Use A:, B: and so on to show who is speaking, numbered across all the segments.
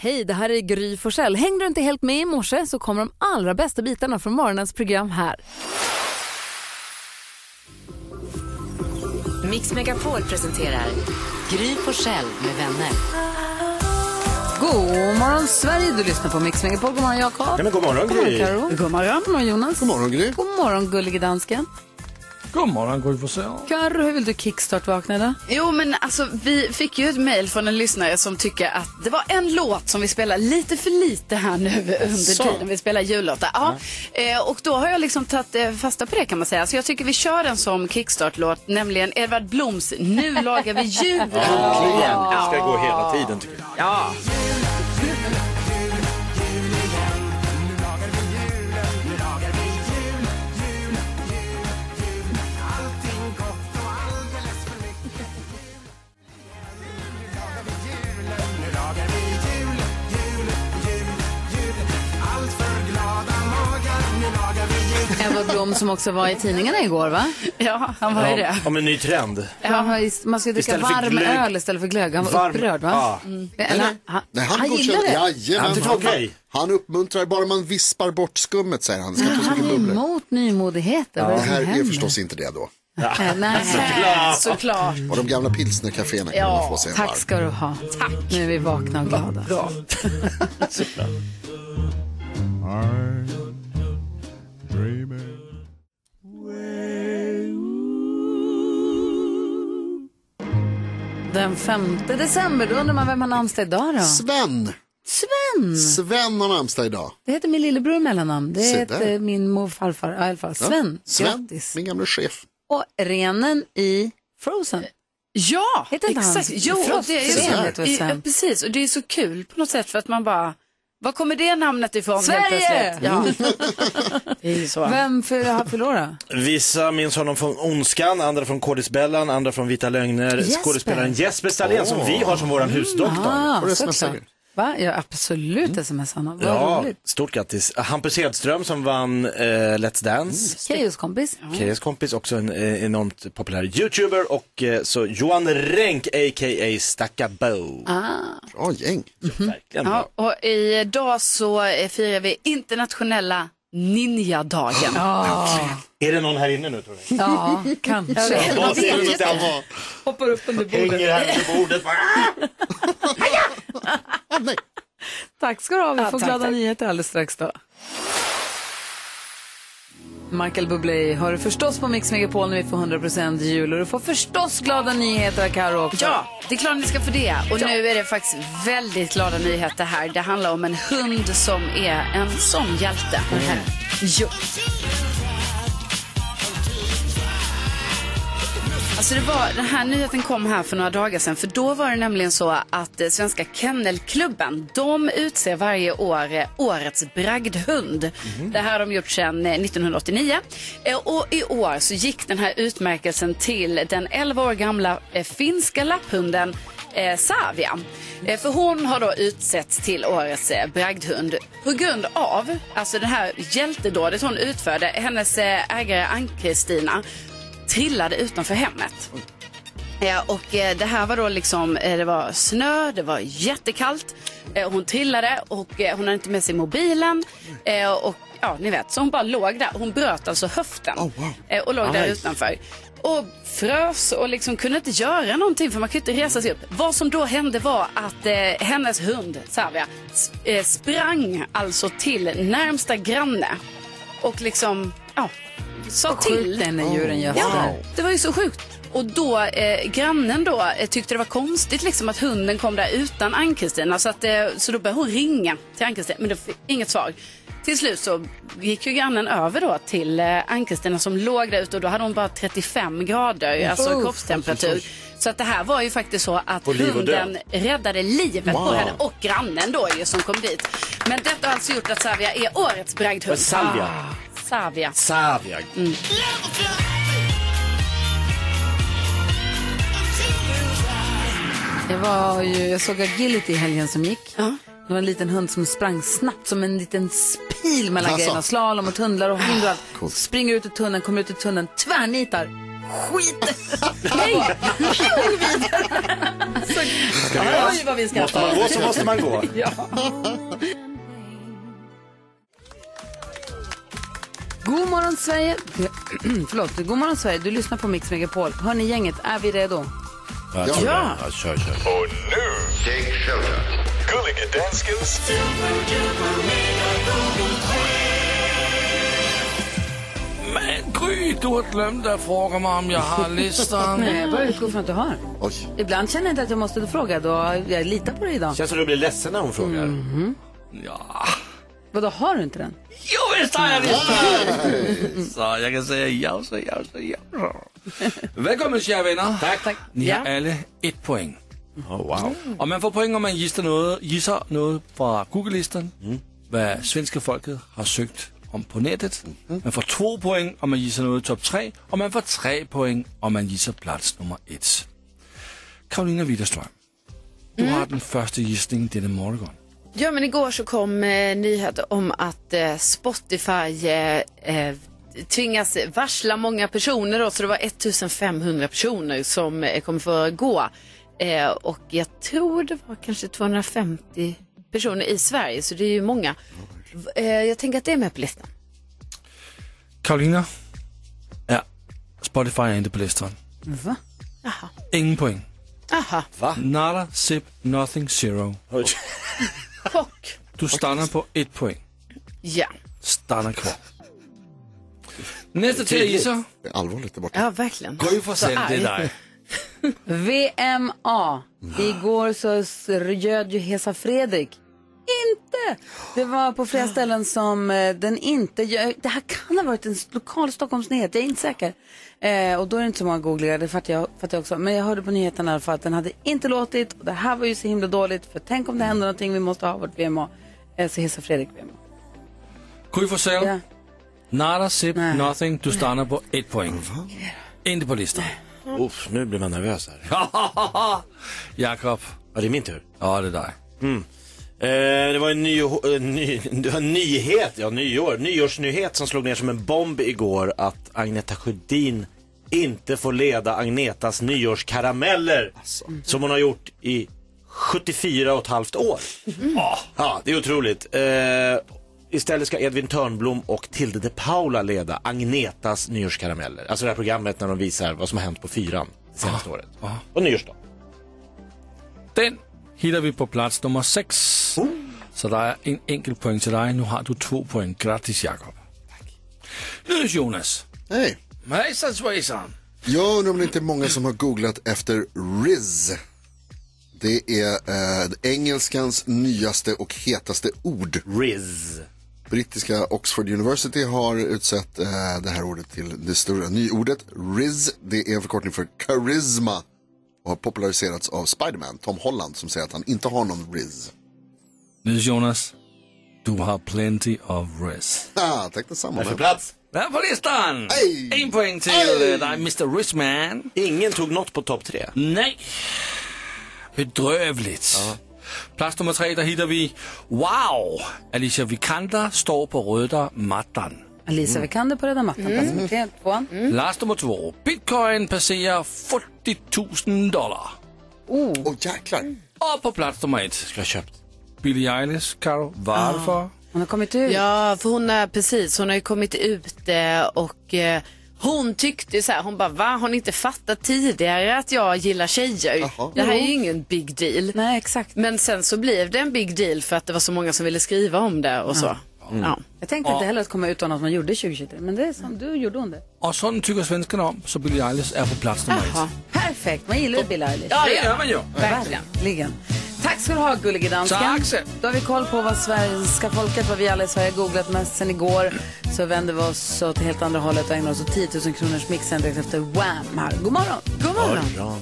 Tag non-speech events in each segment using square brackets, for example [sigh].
A: Hej, det här är Gry Forssell. Hängde du inte helt med i morse så kommer de allra bästa bitarna från morgonens program här.
B: Mix Megapol presenterar Gry Forssell med vänner.
A: God morgon Sverige, du lyssnar på Mix Megapol. God morgon Jakob.
C: Ja, men god morgon, Gry.
A: Karo. God morgon. God morgon Jonas. God
D: morgon, Gry.
A: God morgon gullige dansken.
E: God morgon Gry Forssell.
A: Karo, hur vill du kickstart-vakna idag?
F: Jo, men alltså vi fick ju ett mejl från en lyssnare som tycker att det var en låt som vi spelar lite för lite här nu under tiden vi spelar jullåtar. Ja. Eh, och då har jag liksom tagit eh, fasta på det kan man säga. Så jag tycker vi kör den som kickstart-låt, nämligen Edvard Bloms Nu lagar vi jul.
C: Äntligen! Det ska gå hela tiden tycker jag.
F: Ja.
A: Edward Blom som också var i tidningarna igår va?
F: ja, han var ju det.
C: Om en ny trend.
A: Han har- Man ska dricka
C: Istället för
A: varm
C: glögg.
A: öl istället för glögg. Han var
C: Varm-
A: upprörd va?
C: Ja.
A: Mm. Eller, han, han,
D: Nej,
A: han,
D: han,
A: gillar det.
D: Jajamän,
C: Han tycker det är okej.
D: han uppmuntrar bara man vispar bort skummet säger han. Det ska inte vara så
A: Han
D: mycket
A: är
D: bubblor.
A: emot nymodigheter. Vad
D: Det
A: är det som
D: här är
A: händer?
D: förstås inte det då.
A: Nej, Nej.
F: Eh, Såklart.
D: Och de gamla pilsnercaféerna kan man få sig en
A: Tack
D: varm.
A: ska du ha. Tack. Nu är vi vakna och glada. Den 5 december, då undrar man vem har namnsdag idag då?
D: Sven!
A: Mm. Sven!
D: Sven har namnsdag idag.
A: Det heter min lillebror i mellannamn. Det
D: Se
A: heter
D: där.
A: min morfarfar, ja, i alla fall.
D: Ja,
A: Sven.
D: Sven,
A: Grattis.
D: min gamla chef.
A: Och renen i Frozen.
F: Ja,
A: Heter inte han
F: exakt. Jo, och
A: Frost?
F: det är ju
A: Sven
F: så.
A: heter väl
F: i-
A: Sven?
F: ja, precis, och det är så kul på något sätt för att man bara, var kommer det namnet ifrån
A: Sverige!
F: helt plötsligt? Ja.
A: [laughs]
F: [laughs] det är ju så.
A: Vem för- förlorar?
C: Vissa minns honom från Ondskan, andra från Kådisbellan, andra från Vita Lögner.
A: Jesper.
C: Skådespelaren Jesper Stalén som vi har som våran husdoktor.
A: Ah,
D: Får du smsa
A: såklart.
D: er?
A: Va? Ja, absolut sms honom. Vad
C: Ja,
A: roligt.
C: stort grattis. Hampus Hedström som vann eh, Let's Dance.
A: Keyos kompis.
C: Kejas kompis, också en eh, enormt populär youtuber och eh, så Johan Renck a.k.a. Stackabo.
A: Ah.
D: Bra gäng.
C: Verkligen bra.
A: Mm.
F: Ja, och idag så eh, firar vi internationella ninjadagen.
C: Är det någon här inne nu tror ni?
A: [laughs] Ja, kanske.
C: Vad ser du att han
A: Hoppar upp under
C: hänger här under
A: [laughs]
C: bordet?
A: Tack ska du ha. Vi
F: Ja,
A: får
F: tack,
A: glada
F: tack.
A: nyheter alldeles strax då. Michael Bublé har du förstås på Mix Megapol när vi får 100% jul och du får förstås glada nyheter av Karo också.
F: Ja, det är klart ni ska få det. Och nu är det faktiskt väldigt glada nyheter här. Det handlar om en hund som är en sån hjälte. Jo. Alltså det var, den här nyheten kom här för några dagar sedan. För då var det nämligen så att eh, Svenska Kennelklubben, de utser varje år eh, årets bragdhund. Det här har de gjort sedan eh, 1989. Eh, och i år så gick den här utmärkelsen till den 11 år gamla eh, finska lapphunden eh, Savia. Eh, för hon har då utsetts till årets eh, bragdhund på grund av alltså det här hjältedådet hon utförde. Hennes eh, ägare Ann-Kristina trillade utanför hemmet. Eh, och eh, det här var då liksom, eh, det var snö, det var jättekallt. Eh, hon trillade och eh, hon hade inte med sig mobilen. Eh, och ja, ni vet, så hon bara låg där. Hon bröt alltså höften. eh, och låg där utanför. Och frös och liksom kunde inte göra någonting för man kunde inte resa sig upp. Vad som då hände var att eh, hennes hund, Savia, s- eh, sprang alltså till närmsta granne. Och liksom, ja, sa till.
A: Skjut den när djuren gör
F: Ja,
A: sådär.
F: det var ju så sjukt. Och då, eh, grannen då eh, tyckte det var konstigt liksom att hunden kom där utan Ann-Kristina. Så, att, eh, så då började hon ringa till Ann-Kristina, men det fick inget svar. Till slut så gick ju grannen över då till eh, Ann-Kristina som låg där ute och då hade hon bara 35 grader, alltså
A: Uff.
F: kroppstemperatur. Så att det här var ju faktiskt så att
C: På liv och död.
F: hunden räddade livet på henne och grannen då ju som kom dit. Men detta har alltså gjort att Savia är årets bragdhund. Ah,
C: Salvia.
F: Savia.
C: Savia.
A: Mm. Jag, var ju, jag såg agility i helgen som gick. Det var en liten hund som sprang snabbt som en liten spil mellan
D: Alltså.
C: Ah,
A: grejerna. Slalom och tunnlar och hinder och allt. Springer ut ur tunneln, kommer ut ur tunneln, tvärnitar.
C: [laughs]
A: skit! Nej!
C: Ska vi göra?
A: Oj, vad vi
C: Måste man
A: skrattar.
C: gå så måste man gå.
A: God morgon Sverige. [clears throat] Förlåt, god morgon Sverige. Du lyssnar på Mix Megapol. Hör ni gänget, är vi redo?
C: Ja, tror det. ja kör, kör.
G: Och nu, Take Shelter. Gullige Danskens
E: Men Gry, du har glömt att fråga mig om jag har
A: [laughs]
E: listan.
A: Nej, jag bara utgår från att du har.
D: Oj.
A: Ibland känner jag inte att jag måste fråga. Då jag litar på dig idag.
C: Känns som du blir ledsen när hon frågar.
E: Ja,
A: Vadå, har du inte den?
E: jo visst har jag listan! Så jag kan säga ja, så ja, så ja. Välkommen kära vänner. Tack.
A: Tack.
E: Ni har
A: Ja.
E: alla ett poäng.
C: Oh, wow.
E: Och man får poäng om man gissar något, gissar något från Google-listan. Vad svenska folket har sökt om på nätet. Man får två poäng om man gissar något i topp tre. Och man får tre poäng om man gissar plats nummer ett. Karolina Widerström, du har den första gissningen denna morgon.
F: Ja, men igår så kom eh, nyheter om att eh, Spotify eh, eh, tvingas varsla många personer då, så det var 1500 personer som eh, kommer få gå. Eh, och jag tror det var kanske 250 personer i Sverige, så det är ju många. V- Eh, jag tänker att det är med på listan.
E: Karolina, ja, Spotify är inte på listan.
A: Va?
E: Ingen poäng.
F: Aha,
E: Nada, zip, nothing, zero.
C: Oj.
F: chock.
E: Du stannar på ett poäng.
F: Ja,
E: Stanna kvar. Nästa till att gissa.
D: Det är allvarligt där borta.
F: ja verkligen.
E: Gry Forssell, det är [laughs] dig.
A: VMA. Igår så s- ljöd ju Hesa Fredrik. Inte! Det var på flera ställen som eh, den inte gör. Det här kan ha varit en s- lokal Stockholmsnyhet, jag är inte säker. Eh, och då är det inte så många googlingar, det fattar jag, fattar jag också. Men jag hörde på nyheterna i alla fall att den hade inte låtit. Och det här var ju så himla dåligt, för tänk om det händer någonting, vi måste ha vårt VMA. Eh, så Hesa Fredrik VMA.
E: Gry Forssell,
A: Ja.
E: nada, zip,
A: Nej.
E: nothing. Du stannar på ett poäng. Inte på listan.
C: Uff, nu blir man nervös här.
E: [laughs] Jakob,
C: Ja, det är min tur.
E: ja det är dig.
C: Eh, det var en, ny, eh, ny, [laughs] det var en nyhet, ja nyår, nyårsnyhet som slog ner som en bomb igår att Agneta Sjödin inte får leda Agnetas nyårskarameller som hon har gjort i 74 och ett halvt år. Ja, det är otroligt. Eh, istället ska Edvin Törnblom och Tilde de Paula leda Agnetas nyårskarameller. Alltså det här programmet när de visar vad som har hänt på fyran det senaste året. Och nyårsdagen.
E: Den hittar vi på plats nummer sex. Så där är en enkel poäng till dig. Nu har du två poäng. Grattis Jakob. Nu Jonas.
D: Hej.
E: Hejsan svejsan.
D: Jag undrar om det inte är många som har googlat efter Riz. Det är eh, engelskans nyaste och hetaste ord.
C: Riz.
D: Brittiska Oxford University har utsett eh, det här ordet till det stora nyordet. Riz, det är en förkortning för charisma och har populariserats av Spiderman, Tom Holland, som säger att han inte har någon Riz.
E: Nu Jonas. Du har plenty of rest.
D: Ah, tack detsamma.
C: För plats.
E: Där på listan!
D: Hej!
E: En poäng till
D: Hej!
E: eh, dig Mr Richman.
C: Ingen tog något på topp tre.
E: Nej. Bedrövligt. Plats nummer tre, där hittar vi Wow! Alicia Vikander står på röda mattan.
F: Mm.
A: Alicia Vikander på röda mattan, plats nummer tre, tvåan.
E: Plats nummer två, Bitcoin passerar 40 000 dollar.
D: Åh, jäklar.
E: Och på plats nummer ett,
C: Skulle ha köpt.
E: Billie Eilish, Karo. Varför?
A: Hon har kommit ut.
F: Ja, för hon är precis, hon har ju kommit ut eh, och eh, hon tyckte så här, hon bara va, har ni inte fattat tidigare att jag gillar tjejer?
D: Jaha.
F: Det här är ju ingen big deal.
A: Nej, exakt.
F: Men sen så blev det en big deal för att det var så många som ville skriva om det och så. Mm. Ja.
A: Jag tänkte inte heller att komma ut av något man gjorde 2023, men det är som du gjorde hon det.
E: Och sådan tycker svenskarna om, så Billie Eilish är på plats nummer ett.
F: Jaha.
A: Perfekt, man gillar ju Bill Eilish.
F: Ja,
E: Det
F: ja.
E: gör man ju.
A: Verkligen. Tack ska du ha, gullige dansken.
E: Tack så.
A: Då har vi koll på vad svenska folket, vad vi alla i Sverige har googlat mest sen igår. Så vänder vi oss åt helt andra hållet och ägnar oss åt 10 000 kronors mixen direkt efter Wham! Här. God morgon!
F: God morgon.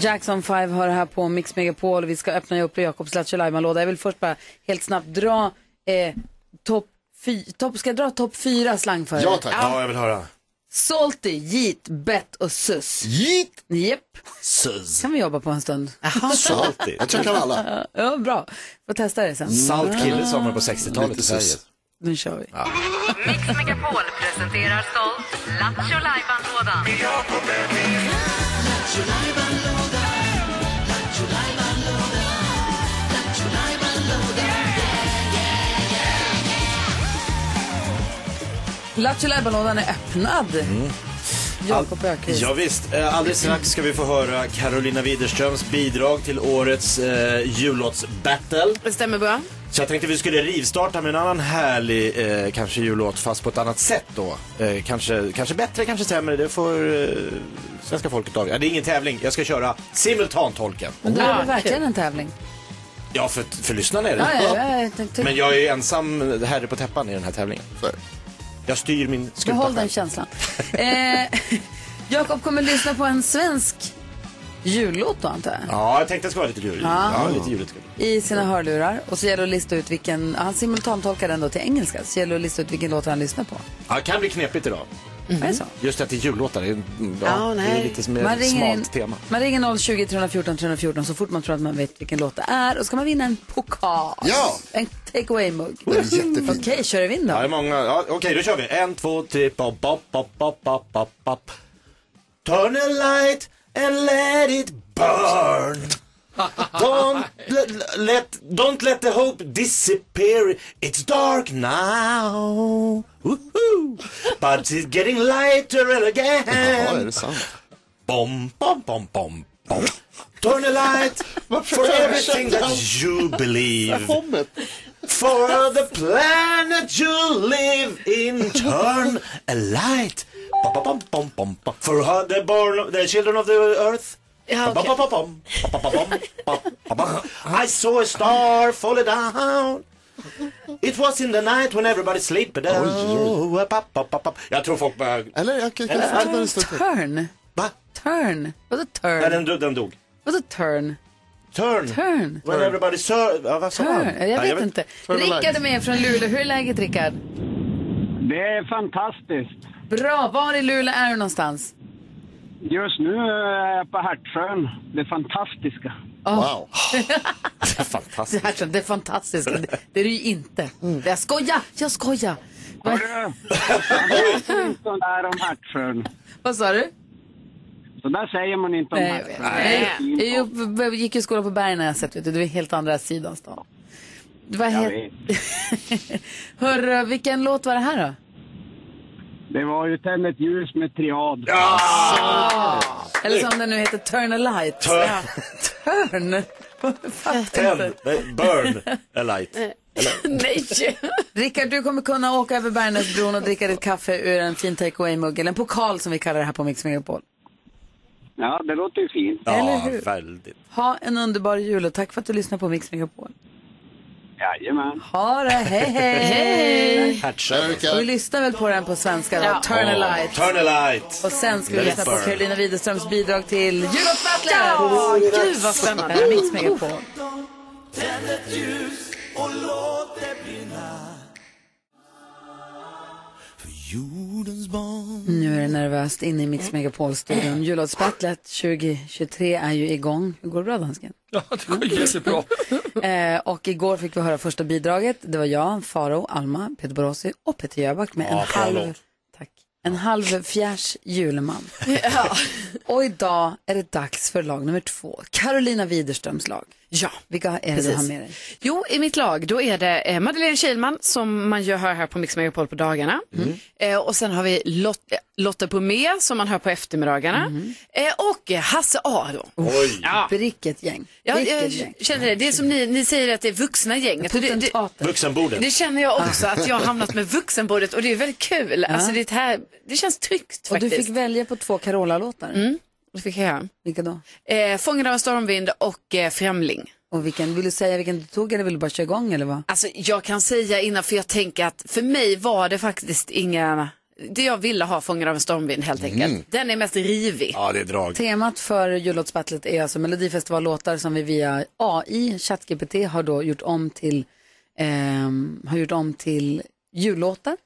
A: Jackson 5 har det här på Mix Megapol. Vi ska öppna upp Jakobs Lattjo låda Jag vill först bara helt snabbt dra eh, topp fy- topp- Ska jag dra topp fyra slang för
D: Ja,
A: er?
D: tack.
C: Ja, jag vill höra.
A: Salty, Jeet, Bet och Sus.
D: Jeet!
A: Japp,
C: Sus.
A: kan vi jobba på en stund.
C: Salty.
D: Jag tror jag kan alla.
A: Ja, bra. Får testa det
C: [laughs]
A: sen.
C: Salt kille sa man på 60-talet i
D: Lite
C: Sverige.
D: sus.
A: Nu kör vi.
H: Mix Megapol presenterar stolt Lattjo Lajban-lådan.
A: Lattjo Lajban-lådan är öppnad. Jakob Öqvist.
C: Ja, visst. Eh, Alldeles strax ska vi få höra Carolina Widerströms bidrag till årets eh, jullåtsbattle.
F: Det stämmer bra.
C: Så jag tänkte vi skulle rivstarta med en annan härlig eh, kanske jullåt fast på ett annat sätt då. Eh, kanske, kanske bättre, kanske sämre. Det får eh, svenska folket avgöra. Ja, det är ingen tävling. Jag ska köra simultantolken.
A: Men då är det verkligen en tävling.
C: Ja, för, för lyssnarna är det.
A: Ja, ja, ja, jag tänkte-
C: Men jag är ensam herre på täppan i den här tävlingen.
D: Så är det.
C: Jag styr min skuta
A: Behåll
C: själv.
A: den känslan. Eh, Jakob kommer lyssna på en svensk jullåt då, antar jag.
C: Ja, jag tänkte att det ska vara lite juligt. Ja, lite juligt. ska det bli.
A: I sina hörlurar. Och så gäller det att lista ut vilken, han simultantolkar den då till engelska. Så gäller det att lista ut vilken låt han lyssnar på.
C: Ja, det kan bli knepigt idag.
A: Är det så?
C: Just att det är jullåtar. Det är, mm, ja,
F: Ja,
C: det är
F: nej.
C: lite mer smalt tema.
A: man ringer 020 314 314 så fort man tror att man vet vilken låt det är. Och ska man vinna en pokal.
D: Ja.
A: En take away-mugg.
D: Det är jättefint.
A: Okej, kör vi in
C: Ja, det är
A: då.
C: många. Ja, Okej, då kör vi. En, två, tre, pop, pop, pop, pop, pop, pop, pop. Turn a light and let it burn. Don't let, let, don't let the hope disappear. It's dark now. Woohoo. But it's getting lighter and again.
D: Ja, är det sant?
C: Bom, bom, bom, bom, bom. Turn a
D: [laughs]
C: light for everything that you believe.
D: Hoppet.
C: For the planet you live in, turn a light. Bom, bom, bom, bom, bom, bom. For her, the, born, the children of the earth.
F: Ja,
C: Bom,
F: okej.
C: bom, bom, bom, bom, bom, bom, bom, bom, bom. I saw a star fall down. It was in the night when everybody slept. Oh, pop, pop, pop, pop. Jag tror folk börjar...
D: Eller jag kan, kan fortsätta en stund till.
A: Turn.
C: Va?
A: Turn. Vadå
C: Nej,
A: turn?
C: den, den dog.
A: Vadå turn?
C: Turn.
A: Turn.
C: When everybody sur... Ja, vad sa han?
A: Turn. Jag
C: Ja,
A: vet inte. Rickard är med från Luleå. Hur är läget Rickard?
I: Det är fantastiskt.
A: Bra. Var i Luleå är du någonstans?
I: Just nu är jag på Hertsjön, det fantastiska.
D: Wow.
A: Det här det är fantastiskt. Det, det är det ju inte. Jag skojar, jag skojar.
I: Har
A: Vad,
I: du? Man pratar inte så där om Hertsjön.
A: vad sa du?
I: Så där säger man inte om
A: Nej,
I: Hertsjön.
A: nej. Jag, jag, jag gick ju i skolan på Bergnäset, vet du. Det var helt andra sidan stan. Det var
I: Jag
A: helt...
I: vet.
A: Hörru, vilken låt var det här då?
I: Det var ju Tänd ett ljus med triad.
A: Eller som den nu heter, Turn a light.
C: Turn.
A: Turn. [laughs] Fattar inte.
C: Tänd, nej, burn a
A: [laughs]
C: light.
F: Nej.
A: Rickard, du kommer kunna åka över Bergnäsbron och dricka ditt kaffe ur en fin takeaway-mugg, eller en pokal som vi kallar det här på Mix Megapol.
I: Ja, det låter ju fint.
A: Eller
C: Ja,
A: hur?
C: väldigt.
A: Ha en underbar jul och tack för att du lyssnar på Mix Megapol.
I: Jajamän.
A: Ha det, hej hej!
D: Där är
C: Hertsön.
A: Och vi
D: Rickard.
A: lyssnar väl på den på svenska då, Turn a light.
C: Turn a light.
A: Och sen ska vi
C: Let it
A: lyssna på
C: burn.
A: Carolina Widerströms bidrag till Jullåtsbattlet!
F: Gud vad spännande.
A: Mix Megapol. Nu är det nervöst inne i Mix Megapol-studion. Jullåtsbattlet 2023 är ju igång. Hur går det bra, dansken?
E: Ja, det går jättebra.
A: Eh, och igår fick vi höra första bidraget. Det var jag, Faro, Alma, Peter Borossi och Peter Jöback med en
C: Ja, bra
A: halv...
C: låt.
A: Tack. En halv fjärs julman. och idag är det dags för lag nummer två. Carolina Widerströms lag.
F: Ja.
A: Vilka är det du har
F: Precis.
A: med dig?
F: Jo, i mitt lag då är det eh, Madeleine Kilman som man ju hör här på Mix Megapol på dagarna.
A: Mm.
F: Eh, och sen har vi Lot- eh, Lotta Bromé som man hör på eftermiddagarna.
A: Mm.
F: Eh, och eh, Hasse Aro.
C: Oj.
F: Ja,
A: Vilket gäng.
F: ja jag
A: Vilket gäng.
F: känner det. Det är som ni, ni säger att det är vuxna gänget. Och Det, det,
A: Potentaten.
C: Vuxenbordet.
F: det känner jag också att jag har hamnat med vuxenbordet och det är väldigt kul. Alltså det, här, det känns tryggt
A: Och du
F: faktiskt. Mm.
A: fick välja på två Carola-låtar.
F: Det fick jag göra.
A: Vilka då?
F: Eh, Fångad av en stormvind och eh, Främling.
A: Och vilken, vill du säga vilken du tog eller vill du bara köra igång eller vad?
F: Alltså jag kan säga innan för jag tänker att för mig var det faktiskt inga, det jag ville ha Fångad av en stormvind helt enkelt. Den är mest rivig.
C: Ja, det är drag.
A: Temat för jullåtsbattlet är alltså Melodifestivallåtar som vi via AI, ChatGPT, har då gjort om till, ehm, har gjort om till jullåtar.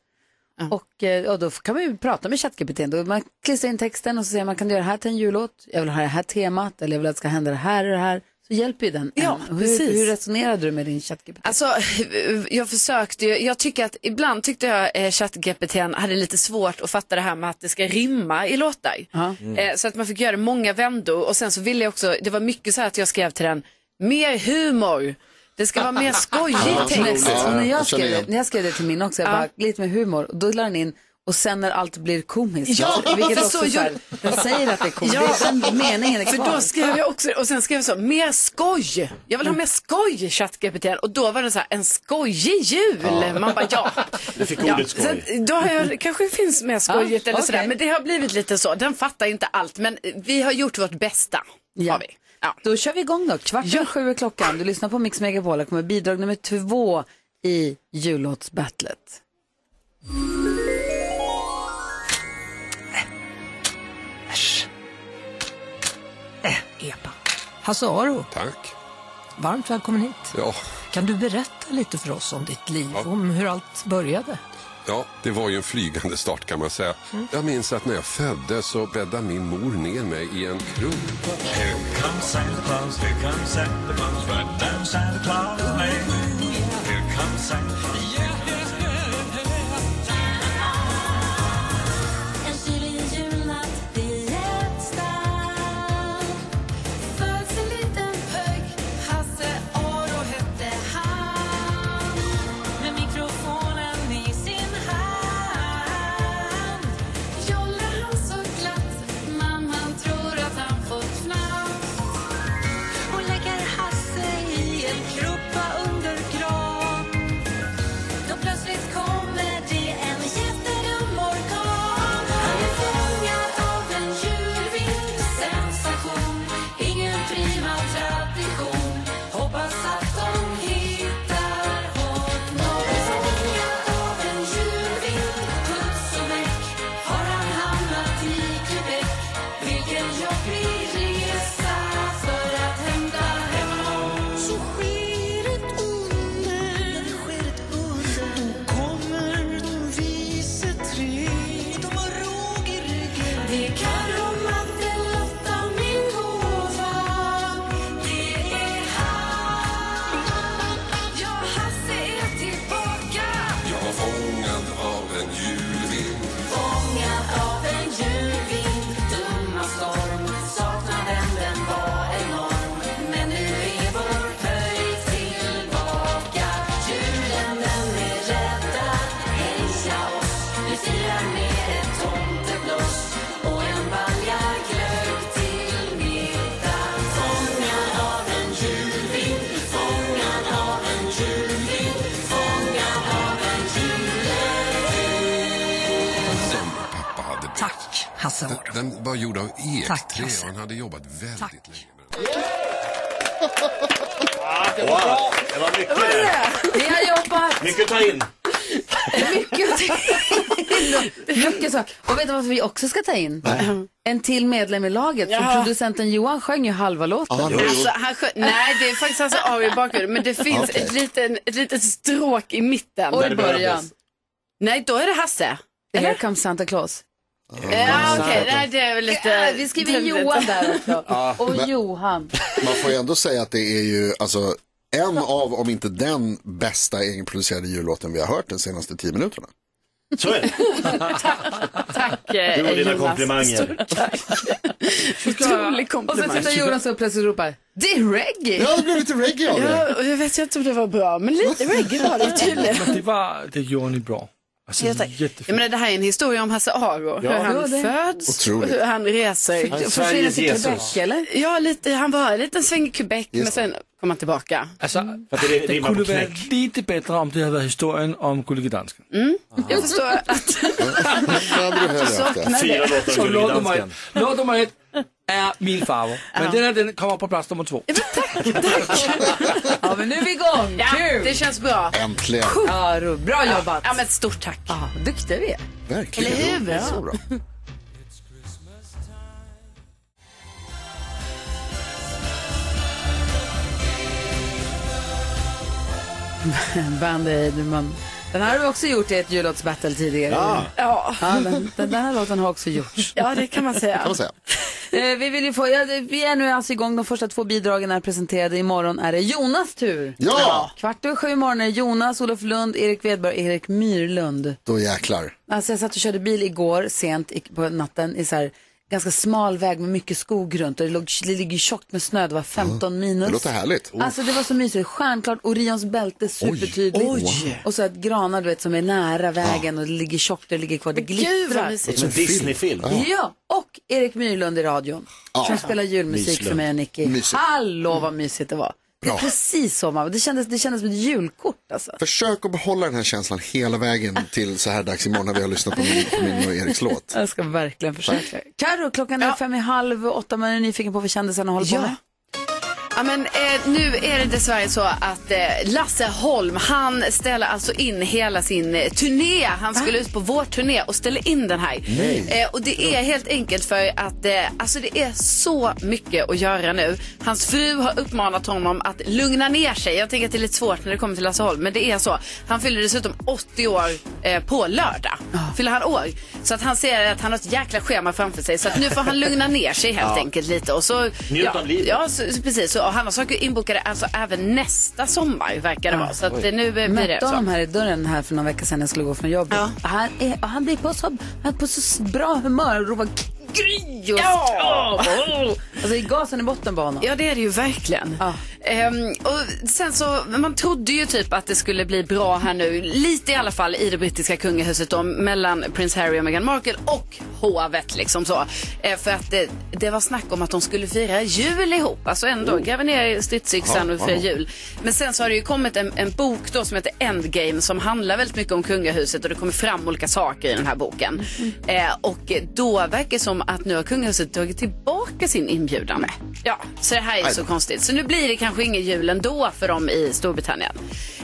A: Och, eh, och då kan man ju prata med ChatGPT. Då man klistrar in texten och så säger man, kan du göra det här till en jullåt? Jag vill ha det här temat eller jag vill att det ska hända det här och det här. Så hjälper ju den
F: Ja,
A: en. hur,
F: precis.
A: hur resonerade du med din ChatGPT?
F: Alltså, [laughs] jag försökte ju, jag tycker att ibland tyckte jag eh, ChatGPT hade lite svårt att fatta det här med att det ska rimma i låtar.
A: Ja.
F: Eh, så att man fick göra många vändor och sen så ville jag också, det var mycket så här att jag skrev till den, mer humor. Det ska vara mer skojig
D: Ja,
F: text.
A: Så när,
D: Ja,
A: jag
D: jag känner
A: skrev,
D: igen.
A: det- när jag skrev det till min också, jag bara, lite med humor, och då la den in och sen när allt blir komiskt.
F: Ja,
A: vilket
F: för så
A: också så här,
F: gjorde-
A: den säger att det är komiskt.
F: Ja.
A: Det är den meningen är
F: För
A: kvar.
F: då skrev jag också, och sen skrev jag så, mer skoj. Jag vill ha mer skoj, ChatGPT. Och då var det så här, en skojig jul. Man bara, ja.
C: Du fick
F: ja.
C: ordet skoj.
F: Sen, då har jag, kanske finns mer skojet
A: Ja,
F: eller
A: okej.
F: sådär. Men det har blivit lite så. Den fattar inte allt, men vi har gjort vårt bästa.
A: Ja.
F: Har vi. Ja.
A: Då kör vi igång då. Kvart över sju är klockan. Du lyssnar på Mix Megapol. Här kommer bidrag nummer två i jullåtsbattlet.
J: EPA. Hasse Aro,
K: Tack.
J: varmt välkommen hit.
K: Ja,
J: Kan du berätta lite för oss om ditt liv, om hur allt började?
K: ja, det var ju en flygande start kan man säga. Jag minns att när jag föddes så bäddade min mor ner mig i en krubba. Jag var fångad av en julvind. Som pappa hade byggt.
J: Tack, Hasse Aro.
K: Den, den var gjord av
J: Tack,
K: ekträ
J: Hasse.
K: och han hade jobbat väldigt
J: Tack.
K: länge med den.
C: Wow, Ah, det var mycket där.
A: Vi har jobbat
C: Mycket att ta in.
A: mycket. mycket så. Och vet du vad vi också ska ta in? En till medlem i laget. För
F: Ja.
A: producenten Johan sjöng ju halva låten.
D: Ja,
F: Alltså, han sjö... Nej, det är faktiskt Hasse Aro i bakgrunden. Men det finns
D: Okej.
F: ett, liten, ett litet stråk i mitten.
A: Och
C: Där
A: i
C: det
A: början.
C: behövdes.
F: Nej, då är det Hasse.
A: Here comes Santa Claus.
F: Ja, okej. Nej, det är väl lite...
A: Ja, vi skriver Johan där också. Och Johan.
D: Man får ju ändå säga att det är ju alltså, en av, om inte den bästa egenproducerade jullåten vi har hört de senaste tio minuterna.
C: Så är det.
F: Tack,
C: Du
F: eh,
C: och dina
F: Jonas.
C: komplimanger.
F: Otrolig
A: Och så
F: komplimang.
A: sitter Jonas och plötsligt ropar, det är reggae.
D: Ja, det blev lite reggae av det.
F: Ja, och jag vet ju inte om det var bra, men lite reggae var det tydligen.
E: Men det var, det gjorde ni bra. Alltså,
F: Jag, tack. jag
E: jättefint.
F: menar, det här är en historia om Hasse Aro. hur han
A: Ja, det-
F: föds,
D: Otroligt.
F: hur han reser.
A: Försvinner
C: Sveriges
A: till
C: Jesus.
A: Quebec eller?
F: Ja, lite, han var en liten sväng i Quebec, men
D: det.
F: sen kom han tillbaka.
E: Alltså,
C: För att det
E: det
C: rimmar på
E: kunde vara
C: knäck.
E: lite bättre om det hade varit historien om Gullige Dansken.
F: Jag förstår att
D: Ja, det hade du haft det.
C: Fyra låtar av Gullige
E: låt nummer
C: Dansken.
E: ett, låt nummer ett är min favorit. Men den här den kommer på plats nummer två.
A: Ja men nu är vi igång.
F: ja,
A: Kul.
F: det känns bra.
D: Äntligen,
A: Ja, ro- bra jobbat.
F: Ja, men stort tack.
A: Ja, duktiga vi är.
D: verkligen.
F: Eller hur?
D: Det är Så bra.
A: Band Aid, man Den här har vi också gjort i ett jullåtsbattle tidigare.
L: Ja.
A: ja. den, den där låten har också gjorts.
L: Ja, det kan man säga.
D: Kan man säga.
A: Eh, vi, vill ju få, ja, det- vi är nu alltså igång. De första två bidragen är presenterade. Imorgon är det Jonas tur.
D: Ja!
A: Kvart över sju imorgon är det Jonas, Olof Lund, Erik Wedberg och Erik Myrlund.
D: Då jäklar.
A: Alltså jag satt och körde bil igår sent i- på natten i så här ganska smal väg med mycket skog runt och det, låg, det ligger tjockt med snö, det var 15 minus.
D: Det låter härligt.
A: Alltså det var så mysigt, stjärnklart, Orions bälte supertydligt.
D: Oj. Wow.
A: Och så att granar du vet som är nära vägen och det ligger tjockt, det ligger kvar, det
L: gud, vad
A: glittrar.
L: mysigt. Låter som en Disney-film.
A: Ja. och Erik Myrlund i radion.
L: Ja.
A: Som spelar julmusik
L: Myslund.
A: för mig och Nicky.
L: Mysigt.
A: Hallå vad mysigt det var. Det är precis så man, det kändes, det kändes som ett julkort alltså.
D: Försök att behålla den här känslan hela vägen till så här dags imorgon när vi har lyssnat på min, på min och Eriks låt.
A: Jag ska verkligen försöka. Karo, klockan är fem i halv åtta. Man är nyfiken på vad kändisarna håller på med.
F: Ja, men, eh, nu är det dessvärre så att eh, Lasse Holm, han ställer alltså in hela sin eh, turné. Han skulle ut på vår turné och ställer in den här.
L: Nej.
F: Eh, och det är helt enkelt för att eh, alltså, det är så mycket att göra nu. Hans fru har uppmanat honom att lugna ner sig. Jag tänker att det är lite svårt när det kommer till Lasse Holm, men det är så. Han fyller dessutom 80 år eh, på lördag. Fyller han år. Så att han ser att han har ett jäkla schema framför sig. Så att nu får han lugna ner sig helt
L: [laughs] Ja.
F: enkelt lite. Och så
L: Njut
F: ja,
L: av livet.
F: Ja, så, så, precis. Så, och han har saker inbokade alltså även nästa sommar verkar det vara. Så att, eh, nu eh, blir det
A: Mötte honom
F: så.
A: här i dörren här för några veckor sedan när jag skulle gå från jobbet. Han, är, och han, blir på så, han är på så bra humör och ropar Gry och
F: Ja!
A: Åh! [laughs] Alltså i gasen i botten på honom.
F: Ja, det är det ju verkligen. Ehm, och sen så, man trodde ju typ att det skulle bli bra här nu, lite i alla fall i det brittiska kungahuset då, mellan prins Harry och Meghan Markle och hovet liksom så. Eh, för att det, det var snack om att de skulle fira jul ihop, alltså ändå
L: Oh.
F: gräva ner stridsyxan
L: Ja,
F: och fira
L: ja.
F: jul. Men sen så har det ju kommit en, en bok då som heter Endgame som handlar väldigt mycket om kungahuset och det kommer fram olika saker i den här boken. Eh, och då verkar det som att nu har kungahuset dragit tillbaka sin inbjudan. Ja, så det här är
L: Aj
F: så
L: då.
F: konstigt. Så nu blir det kanske ingen jul ändå för dem i Storbritannien.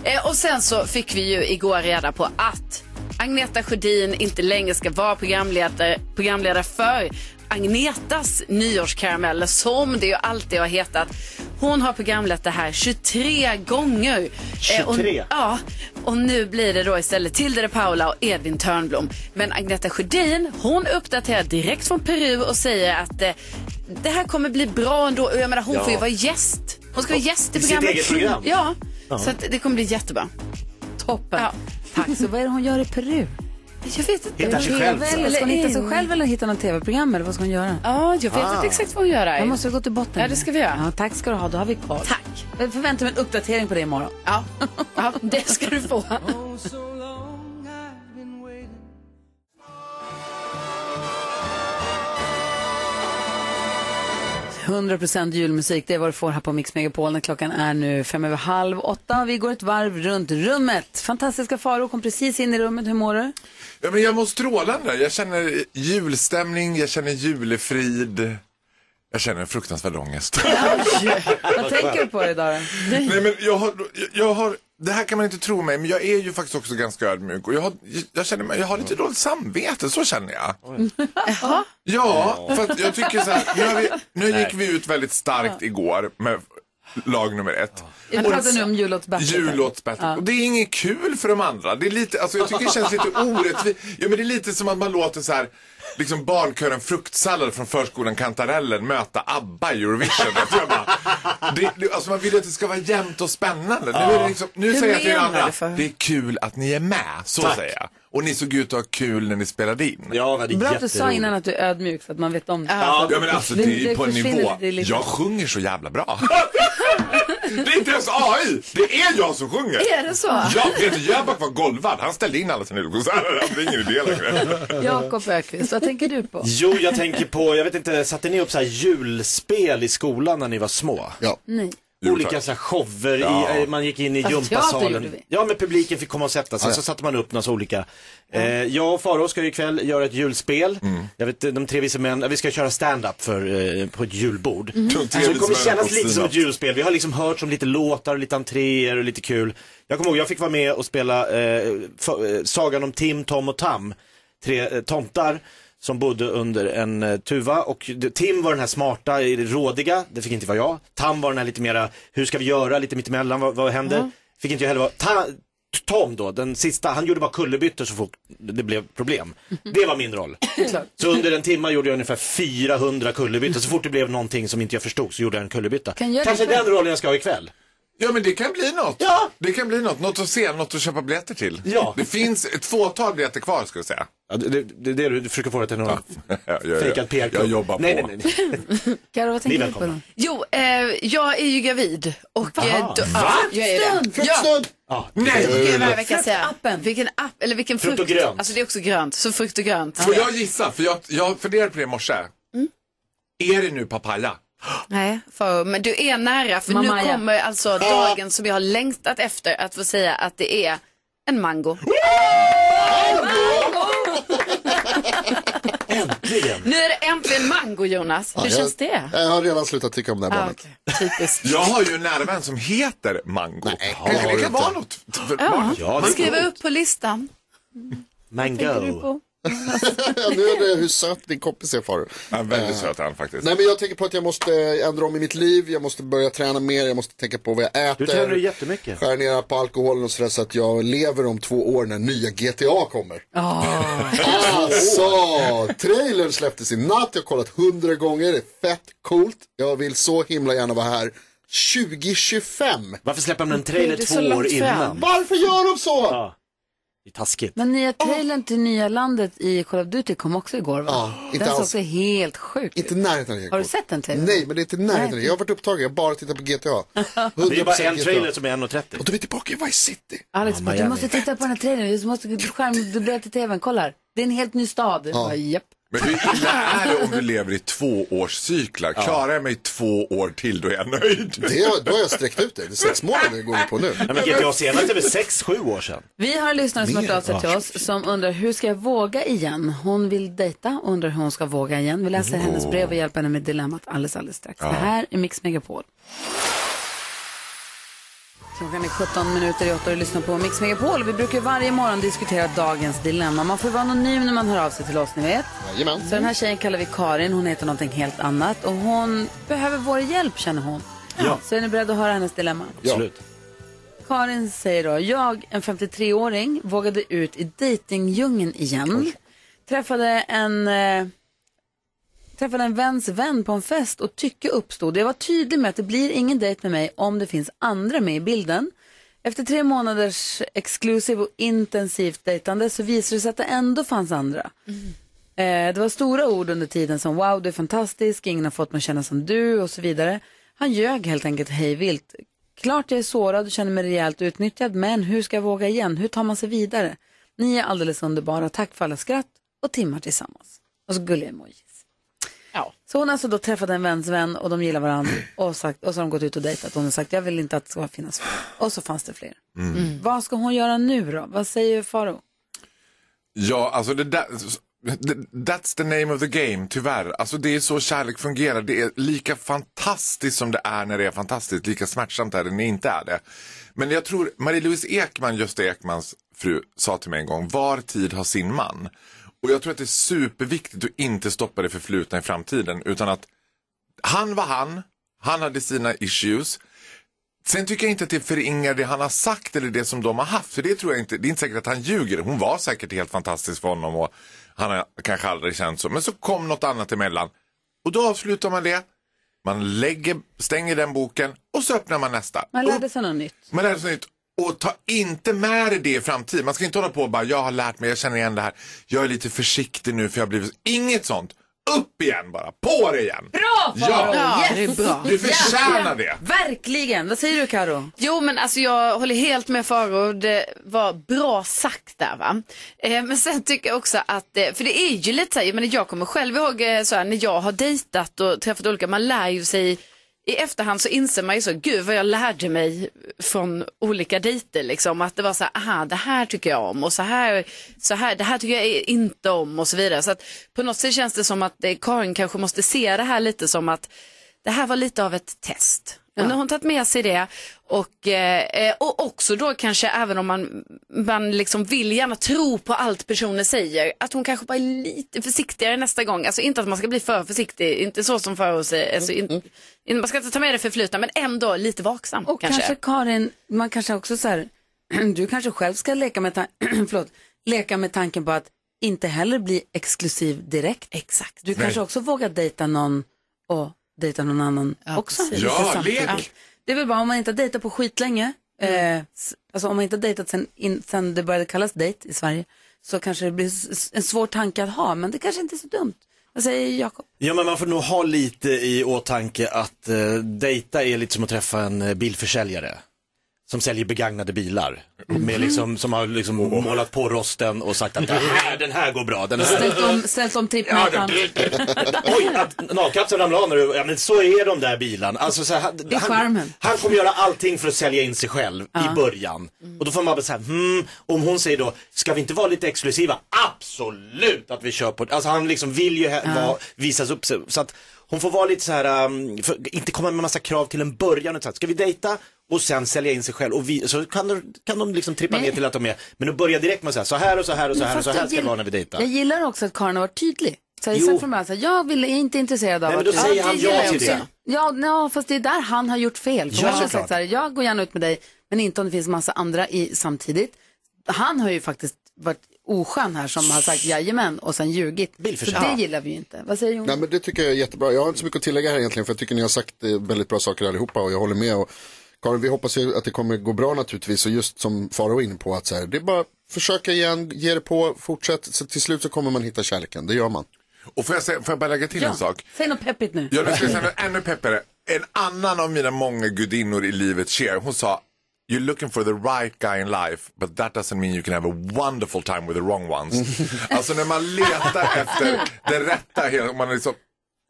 F: Eh, och sen så fick vi ju igår reda på att Agneta Sjödin inte längre ska vara programledare, programledare för Agnetas nyårskarameller som det ju alltid har hetat. Hon har programlett det här 23 gånger. Eh, och-
L: 23?
F: Ja, och nu blir det då istället Tilde de Paula och Edvin Törnblom. Men Agneta Sjödin, hon uppdaterar direkt från Peru och säger att eh, det här kommer bli bra ändå. Och Jag menar, hon
L: Ja.
F: får ju vara gäst. Hon ska vara gäst i
L: I sitt
F: programmet.
L: eget program.
F: Ja,
L: Ja.
F: så att det kommer bli jättebra.
A: Toppen.
F: Ja.
A: Tack. Så vad är det hon gör i Peru?
F: Jag vet inte.
L: Hittar sig själv,
A: Eller Ska hon hitta sig själv eller hitta något tv-program eller vad ska hon göra?
F: Ja, jag vet
L: Ah.
F: inte exakt vad hon gör.
A: Man måste gå till botten.
F: Ja, det ska vi göra.
A: Ja, tack ska du ha, då har vi koll. Tack. Jag förväntar mig en uppdatering på det imorgon.
F: Ja, ja det ska du få.
A: Hundra procent julmusik, det är vad du får här på Mix Megapol när klockan är nu fem över halv åtta. Vi går ett varv runt rummet. Fantastiska Faro kom precis in i rummet, hur mår du?
M: Ja, men jag mår strålande. Jag känner julstämning, jag känner julefrid. Jag känner en fruktansvärd ångest.
A: Vad tänker du på idag då?
M: Nej, men jag har, jag, jag har, det här kan man inte tro mig, men jag är ju faktiskt också ganska ödmjuk. Och jag, har, jag, känner, mig- jag har lite dåligt samvete, så känner jag. Ja, för att jag tycker så här, nu, har vi, nu gick vi ut väldigt starkt igår med lag nummer ett.
A: Jag
M: Och-
A: pratar nu om jullåtsbattle.
M: Jullåtsbattle.
A: Ja.
M: Och det är inget kul för de andra. Det är lite, alltså jag tycker det känns lite orättvist. Ja men det är lite som att man låter så här, liksom barnkören fruktsallad från förskolan Kantarellen möta ABBA i Eurovision. Jag tror jag bara, det, det, alltså man vill ju att det ska vara jämnt och spännande. Nu, är det liksom, nu
N: Hur
M: säger jag till er
N: menar
M: andra,
N: du för?
M: det är kul att ni är med. Så
C: Tack.
M: säger jag. Och ni såg ut att ha kul när ni spelade in.
C: Ja, det
A: Bra att du sa innan att du är ödmjuk så att man vet om det.
M: Ja, men alltså det, är på en
A: försvinner
M: nivå.
A: lite, lite.
M: Jag sjunger så jävla bra. det är inte ens AI. Det är jag som sjunger.
A: Är det så?
M: Ja, Peter Jöback var golvad. Han ställde in alla sina julkonserter. Det är ingen idé längre.
A: Jakob Ökvist, vad tänker du på?
C: Jo, jag tänker på, jag vet inte, satte ni upp så här julspel i skolan när ni var små?
M: Ja.
A: Nej.
C: Olika så här shower,
M: Ja.
C: i, eh, man gick in i
A: Fast teater gjorde
C: gympasalen.
A: vi.
C: Ja, men publiken fick komma och sätta sig,
M: Ja.
C: så satte man upp några så olika. Eh, jag och Faro ska ju ikväll göra ett julspel.
M: Mm.
C: Jag vet, de tre vise män, eh, vi ska köra stand-up för, eh, på ett julbord.
M: Mhm. De
C: Så
M: tre
C: Alltså, det
M: vise
C: kommer
M: männen
C: kännas
M: på
C: lite som
M: stand-up.
C: ett julspel. Vi har liksom hört som lite låtar och lite entréer och lite kul. Jag kommer ihåg, jag fick vara med och spela eh, fa- eh, Sagan om Tim, Tom och Tam. Tre eh, tomtar som bodde under en eh, tuva och det- Tim var den här smarta, eh, rådiga, det fick inte vara jag. Tam var den här lite mera, hur ska vi göra, lite mittemellan, vad, vad händer? Fick inte jag heller vara. Ta, Tom då, den sista, han gjorde bara kullerbyttor så fort det blev problem. Det var min roll. Så under en timme gjorde jag ungefär 400 kullerbyttor. Så fort det blev någonting som inte jag förstod så gjorde jag en kullerbytta.
M: Kan jag göra
C: Kanske
M: det själv?
C: den rollen jag ska ha ikväll.
M: Ja men det kan bli något. Ja. Det kan bli något. Något att se, något att köpa biljetter till. Ja. Det finns ett fåtal biljetter kvar ska jag säga. [laughs]
C: Ja, det är det, du försöker få det till någon
M: ja.
C: fejkad PR-kund.
M: Jag jobbar
C: nej,
M: på.
C: Nej, nej, nej.
A: Karo, vad tänker
C: Ni är
A: du på? Då?
F: Jo, eh, jag är ju gravid. Och, eh,
C: Aha.
F: då-
C: Va?
F: Jag är det. Ja.
A: Fruktstund!
C: Ja.
M: Nej.
F: Gud, vad jag kan säga. Vilken app, eller vilken frukt.
M: Frukt och grönt.
F: Alltså det är också grönt, så frukt och grönt. Mm.
M: Får jag gissa? För jag, jag funderade på det i morse. Är det nu papaya?
F: Nej, för, men du är nära för
M: Mamma,
F: nu
M: ja.
F: kommer alltså dagen som jag har längtat efter att få säga att det är en mango.
C: Äntligen!
A: Mm.
F: Nu är det äntligen mango Jonas. Hur
M: Ja, jag-
F: känns det?
D: Jag har redan slutat tycka om det här
F: Ah,
D: barnet.
F: okej. Typiskt.
M: Jag har ju en nära vän som heter Mango. Nej, Kanske det kan vara något. för barnet.
F: Ja, skriva upp på listan.
C: Mango.
M: Oh.
D: nu är det hur söt din kompis är far.
M: Ja, väldigt
D: Eh,
M: söt han faktiskt.
D: Nej men jag tänker på att jag måste eh, ändra om i mitt liv, jag måste börja träna mer, jag måste tänka på vad jag äter.
C: Du tränar ju jättemycket.
D: Skära ner på alkoholen och sådär så att jag lever om två år när nya GTA kommer. Alltså, trailern släpptes i natt, jag har kollat hundra gånger, det är fett coolt. Jag vill så himla gärna vara här 2025.
C: Varför släpper man en
A: trailer Det är så två år långt fram. innan?
D: Varför gör de så?
C: Det är taskigt.
A: Men nya trailern till nya landet i Call of Duty kom också igår va?
D: Ja, inte
A: den såg
D: alls.
A: också alltså helt sjuk
D: Inte närheten av det.
A: Har du sett den trailern?
D: Nej, men det är inte närheten.
A: Nej.
D: Jag har varit upptagen, jag har bara tittat
C: [laughs]
D: på GTA.
C: Det är bara
D: 100%
C: en
D: GTA.
C: trailer som är 1.30.
D: Och då är vi tillbaka i Vice City.
A: Alex
C: Ja,
A: bara, du
C: Miami.
A: måste titta på den här trailern, du måste skärmdubblera till tvn, kolla här. Det är en helt ny stad.
M: Ja.
A: Ja. Japp.
M: Men hur illa är det om du lever i tvåårscyklar? Klarar jag mig två år till då är jag nöjd.
D: Det, då har jag sträckt ut det. Det är sex månader vi går in på nu.
C: Nej, men GTA senast är väl 6-7 år sedan.
A: Vi har en lyssnare som har
C: Mer
A: hört av sig till
C: var-
A: oss som undrar hur ska jag våga igen? Hon vill dejta och undrar hur hon ska våga igen. Vi läser hennes brev och hjälper henne med dilemmat alldeles, alldeles strax.
O: Ja.
A: Det här är Mix Megapol. Klockan är 17 minuter i 8 och du lyssnar på Mix Megapol. Vi brukar varje morgon diskutera dagens dilemma. Man får vara anonym när man hör av sig till oss, ni vet.
D: Jajamän.
A: Så den här tjejen kallar vi Karin, hon heter någonting helt annat och hon behöver vår hjälp känner hon.
C: Ja.
A: Så är ni beredda att höra hennes dilemma?
C: Absolut.
A: Karin säger då, jag, en 53-åring, vågade ut i dejtingdjungeln igen. Träffade en, eh, träffade en väns vän på en fest och tycke uppstod. Jag var tydlig med att det blir ingen dejt med mig om det finns andra med i bilden. Efter tre månaders exklusiv och intensivt dejtande så visade det sig att det ändå fanns andra. Eh, det var stora ord under tiden som wow, du är fantastisk, ingen har fått mig att känna som du och så vidare. Han ljög helt enkelt hejvilt. Klart jag är sårad och känner mig rejält utnyttjad, men hur ska jag våga igen? Hur tar man sig vidare? Ni är alldeles underbara. Tack för alla skratt och timmar tillsammans. Och så gulliga emojis.
F: Ja.
A: Så hon har alltså då träffat en väns vän och de gillar varandra och, sagt, och så har de gått ut och dejtat. Hon har sagt jag vill inte att det ska finnas fler. Och så fanns det fler. Mm. Vad ska hon göra nu då? Vad säger Faro?
M: Ja, alltså det där... That's the name of the game, tyvärr. Alltså det är så kärlek fungerar. Det är lika fantastiskt som det är när det är fantastiskt. Lika smärtsamt är det när det inte är det. Men jag tror Marie-Louise Ekman, Gösta Ekmans fru, sa till mig en gång, var tid har sin man. Och jag tror att det är superviktigt att inte stoppa det förflutna i framtiden. Utan att han var han, han hade sina issues. Sen tycker jag inte att det förringar det han har sagt eller det som de har haft. För det tror jag inte, det är inte säkert att han ljuger. Hon var säkert helt fantastisk för honom och han har kanske aldrig känt så. Men så kom något annat emellan. Och då avslutar man det. Man lägger, stänger den boken och så öppnar man nästa.
A: Man lärde sig något nytt.
M: Man lärde sig nytt. Och ta inte med dig det i framtiden. Man ska inte hålla på och bara, jag har lärt mig, jag känner igen det här. Jag är lite försiktig nu för jag har blivit... Inget sånt. Upp igen bara. På det igen. Ja,
A: Bra
F: Ja, det är bra.
M: Du förtjänar det.
A: Verkligen. Vad säger du Karo?
F: Jo men alltså jag håller helt med Faro, det var bra sagt där va. Eh, men sen tycker jag också att, eh, för det är ju lite så här, jag, menar, jag kommer själv ihåg eh, så här, när jag har dejtat och träffat olika, man lär ju sig i efterhand så inser man ju så, gud vad jag lärde mig från olika dejter liksom. Att det var så här, aha det här tycker jag om och så här, så här, det här tycker jag inte om och så vidare. Så att på något sätt känns det som att eh, Karin kanske måste se det här lite som att det här var lite av ett test. Och nu har hon tagit med sig det och, eh, eh, och också då kanske även om man, man liksom vill gärna tro på allt personer säger att hon kanske bara är lite försiktigare nästa gång. Alltså inte att man ska bli för försiktig, inte så som för oss. eh, Alltså, in, in, man ska inte ta med det förflutna men ändå lite vaksam
A: Och
F: kanske.
A: kanske Karin, man kanske också så här, [clears throat] du kanske själv ska leka med, tan- [clears throat] förlåt, leka med tanken på att inte heller bli exklusiv direkt. Exakt. Du
N: Nej.
A: kanske också vågar dejta någon och dejta någon annan också.
N: precis.
A: Lite
N: Ja,
A: samtidigt.
N: lek.
A: Det är väl bara om man inte har dejtat på skitlänge, eh, s- alltså om man inte har dejtat sen, in, sen det började kallas dejt i Sverige, så kanske det blir s- en svår tanke att ha, men det kanske inte är så dumt. Vad säger Jakob?
C: Ja, men man får nog ha lite i åtanke att eh, dejta är lite som att träffa en eh, bilförsäljare. Som säljer begagnade bilar. Med liksom, som har liksom målat på rosten och sagt att den här, den här går bra. Den här.
A: Ställt om, ställt om
C: Ja,
A: trippmätaren. [laughs]
C: Oj, att nagkapseln ramlade av när du, ja men så är de där bilarna. Alltså, så här, han-
A: Det är charmen.
C: Han kommer göra allting för att sälja in sig själv
A: Ja.
C: i början. Och då får man bara säga, hmm, om hon säger då, ska vi inte vara lite exklusiva? Absolut att vi kör på det. Alltså han liksom vill ju he-
A: Ja.
C: vara, visas upp sig. Så att hon får vara lite så här, um, för, inte komma med massa krav till en början. Utan, ska vi dejta? Och sen sälja in sig själv och vi, så kan de, kan de liksom trippa
A: Men-
C: ner till att de är, men att börja direkt med att säga så här och så här och så
A: Men
C: här och
A: fast
C: så här
A: jag
C: ska det
A: gill-
C: vara när vi dejtar.
A: Jag gillar också att Karin har varit tydlig. Så jag
C: Jo.
A: sen från början, så här, jag vill, är inte intresserad av
C: Nej, men
A: att
C: då säger
A: det
C: han
A: gillar
C: ja
A: jag
C: till
A: också. Ja, no, fast det är där han har gjort fel. För
C: Ja,
A: hon har
C: såklart.
A: sagt så här, jag går gärna ut med dig, men inte om det finns massa andra i, samtidigt. Han har ju faktiskt varit oskön här som har sagt jajamän och sen ljugit. Så det gillar vi ju inte. Vad säger Jonas?
D: Nej, men det tycker jag är jättebra. Jag har inte så mycket att tillägga här egentligen för jag tycker ni har sagt eh, väldigt bra saker allihopa och jag håller med. Och Karin, vi hoppas ju att det kommer gå bra naturligtvis och just som Farao var inne på att så här, det är bara försöka igen, ge det på, fortsätt. Så till slut så kommer man hitta kärleken, det gör man.
M: Och får jag, säga, får jag bara lägga till en sak?
A: Säg något peppigt nu.
M: Ja, nu ska jag säga något ännu peppigare. En annan av mina många gudinnor i livet, Cher, hon sa You're looking for the right guy in life, but that doesn't mean you can have a wonderful time with the wrong ones. alltså när man
G: [laughs]
M: letar efter det rätta, hela- man är liksom,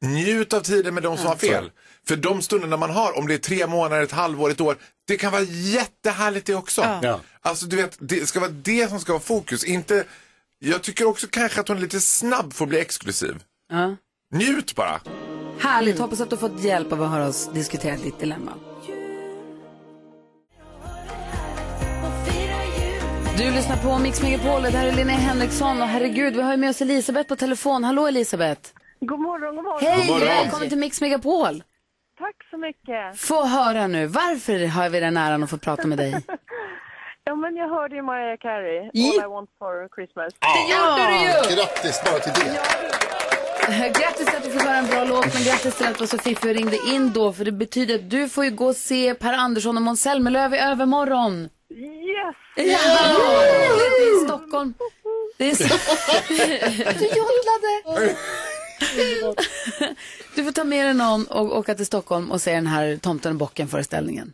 M: njut av tiden med de som har
G: Mm.
M: fel. För de stunderna man har, om det är tre månader, ett halvår, ett år, det kan vara jättehärligt det också.
C: Ja.
M: Alltså du vet, det ska vara det som ska vara fokus, inte, jag tycker också kanske att hon är lite snabb för att bli exklusiv.
A: Ja.
M: Njut bara.
A: Härligt, hoppas att du har fått hjälp av att höra oss diskutera ditt dilemma. Du lyssnar på Mix Megapol, det här är Linnea Henriksson och herregud, vi har ju med oss Elisabeth på telefon. Hallå Elisabeth!
P: God morgon, god morgon.
A: Hej, välkommen till Mix Megapol!
P: Tack så mycket.
A: Få höra nu, varför har vi den äran att få prata
P: [laughs]
A: med dig?
P: Ja, men jag hörde ju Mariah Carey, All
A: Ja.
P: I want for Christmas.
A: Det gjorde du ju!
D: Grattis bara till det.
A: Grattis till att du fick höra en bra låt, men grattis till att det var så fiffig och ringde in då, för det betyder att du får ju gå och se Per Andersson och Måns Zelmerlöw i övermorgon.
P: Yes!
A: Ja! Det är i Stockholm. Det är så... Du jollade! Du får ta med dig någon och åka till Stockholm och se den här Tomten och bocken-föreställningen.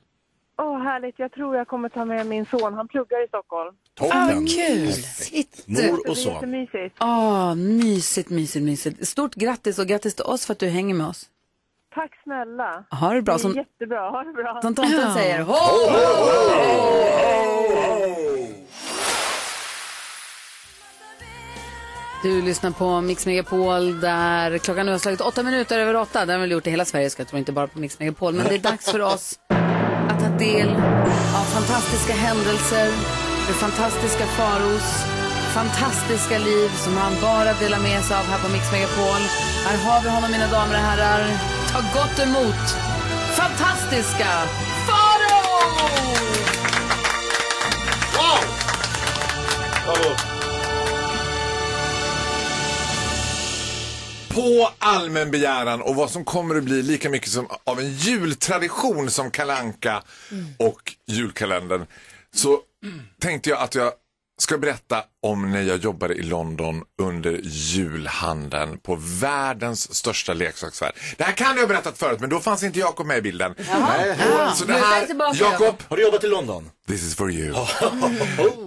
P: Åh, härligt. Jag tror jag kommer ta med min son. Han pluggar i Stockholm.
A: Toppen. Ah, kul. Shit.
P: Så det är jättemysigt.
A: Åh, Ah, mysigt, mysigt, mysigt. Stort grattis och grattis till oss för att du hänger med oss.
P: Tack snälla.
A: Ha det bra,
P: är
A: som-
P: jättebra. Ha det bra.
A: Som tomten säger, ho, ho, Du lyssnar på Mix Megapol där klockan nu har slagit åtta minuter över åtta. Det har väl gjort i hela Sverige, så jag tror inte bara på Mix Megapol. Men det är dags för oss att ta del av fantastiska händelser, med fantastiska faros, fantastiska liv som han bara delar med sig av här på Mix Megapol. Här har vi honom, mina damer och herrar. Ta gott emot fantastiska Farao!
M: På allmän begäran och vad som kommer att bli lika mycket som av en jultradition som Kalanka och julkalendern. Så tänkte jag att jag ska berätta om när jag jobbade i London under julhandeln på världens största leksaksaffär. Det här kan jag ha berättat förut men då fanns inte Jakob med i bilden.
A: Jaha.
M: Så det
A: Luta dig
M: här,
A: tillbaka,
M: Jakob.
C: Har du jobbat i London?
M: This is for you.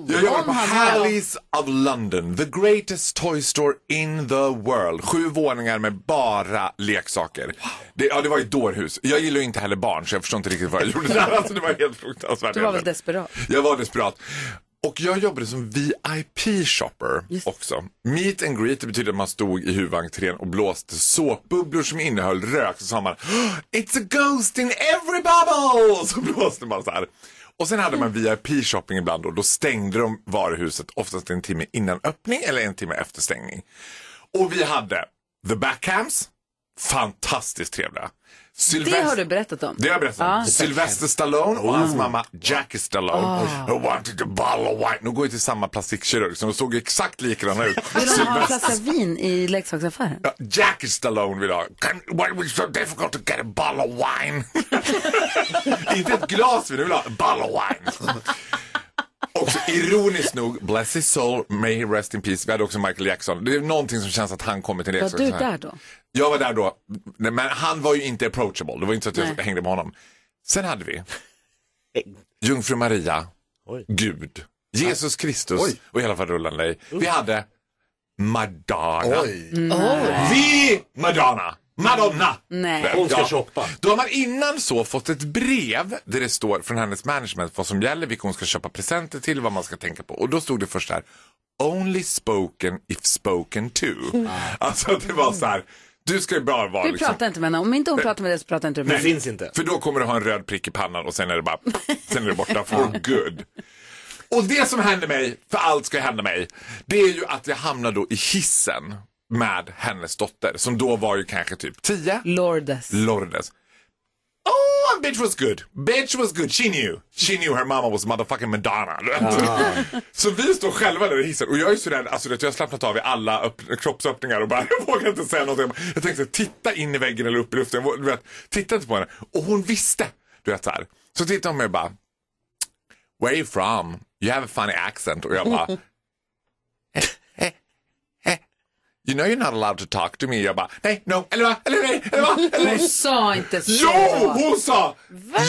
M: Jag jobbar på Hallies of London, the greatest toy store in the world. Sju våningar med bara leksaker. Det, ja, det var ett dårhus. Jag gillar ju inte heller barn så jag förstår inte riktigt vad jag gjorde där. Alltså, det var helt fruktansvärt.
A: Du var väl
M: egentligen.
A: desperat?
M: Jag var desperat. Och jag jobbade som VIP-shopper också. Meet and greet, det betyder att man stod i huvudentrén och blåste såpbubblor som innehöll rök. Så sa man "Oh, It's a ghost in every bubble! Så blåste man så här. Och sen hade man VIP-shopping ibland och då stängde de varuhuset oftast en timme innan öppning eller en timme efter stängning. Och vi hade the backcams, fantastiskt trevliga.
A: Det har
M: Sylvester,
A: du berättat om.
M: det har jag berättat om.
A: Ja.
M: Sylvester Stallone och hans mamma Jackie Stallone.
A: Ah.
M: I wanted to bottle of wine. Nu går ju till samma plastikkirurg, så de såg exakt likadana ut.
A: Vill de ha en
M: Sylvester-
A: flaska vin i leksaksaffären?
M: Ja, Jackie Stallone vill ha. Can, why was it so difficult to get a bottle of wine? [laughs] Inte ett glas vin, du vill ha a bottle of wine. [laughs] Oh, Och så ironiskt nog, bless his soul, may he rest in peace. Vi hade också Michael Jackson. Det är någonting som känns att han kommer till det.
A: Var
M: Så-
A: du
M: så här.
A: där då?
M: Jag var där då, Nej, men han var ju inte approachable. Det var inte så att jag
A: Nej.
M: hängde med honom. Sen hade vi Jungfru Maria, Gud, Jesus Kristus och hela faderullan dig. Vi hade Madonna.
A: Oj. Mm. Oj.
M: Vi Madonna! Madonna!
A: Nej.
M: Ja. Då har man innan så fått ett brev där det står från hennes management vad som gäller, vilka hon ska köpa presenter till, vad man ska tänka på. Och då stod det först här, only spoken if spoken to. Alltså det var så här, du ska ju bara vara
A: Vi
M: liksom...
A: pratar inte med henne. Om inte hon
M: Nej.
A: pratar med dig så pratar inte du med henne.
M: inte. För då kommer du ha en röd prick i pannan och sen är det bara, sen är det borta for good. Och det som hände mig, för allt ska hända mig, det är ju att jag hamnar då i hissen med hennes dotter som då var ju kanske typ 10.
A: Lourdes.
M: Lourdes. Oh, bitch was good. Bitch was good. She knew. She knew her mama was motherfucking Madonna. [laughs] Så vi står själva där i hissen och jag är så rädd, alltså att jag har slappnat av i alla öpp- kroppsöppningar och bara, [laughs] jag vågar inte säga någonting. Jag tänkte titta in i väggen eller upp i luften. Jag vå- Du vet, titta inte på henne. Och hon visste. Du vet så här. Så tittade hon på mig och bara, where are you from? You have a funny accent. Och jag bara, you know you're not allowed to talk to me. Jag bara, nej, no, eller va, eller nej, eller va, eller nej.
A: Hon sa inte så.
M: Jo, hon sa!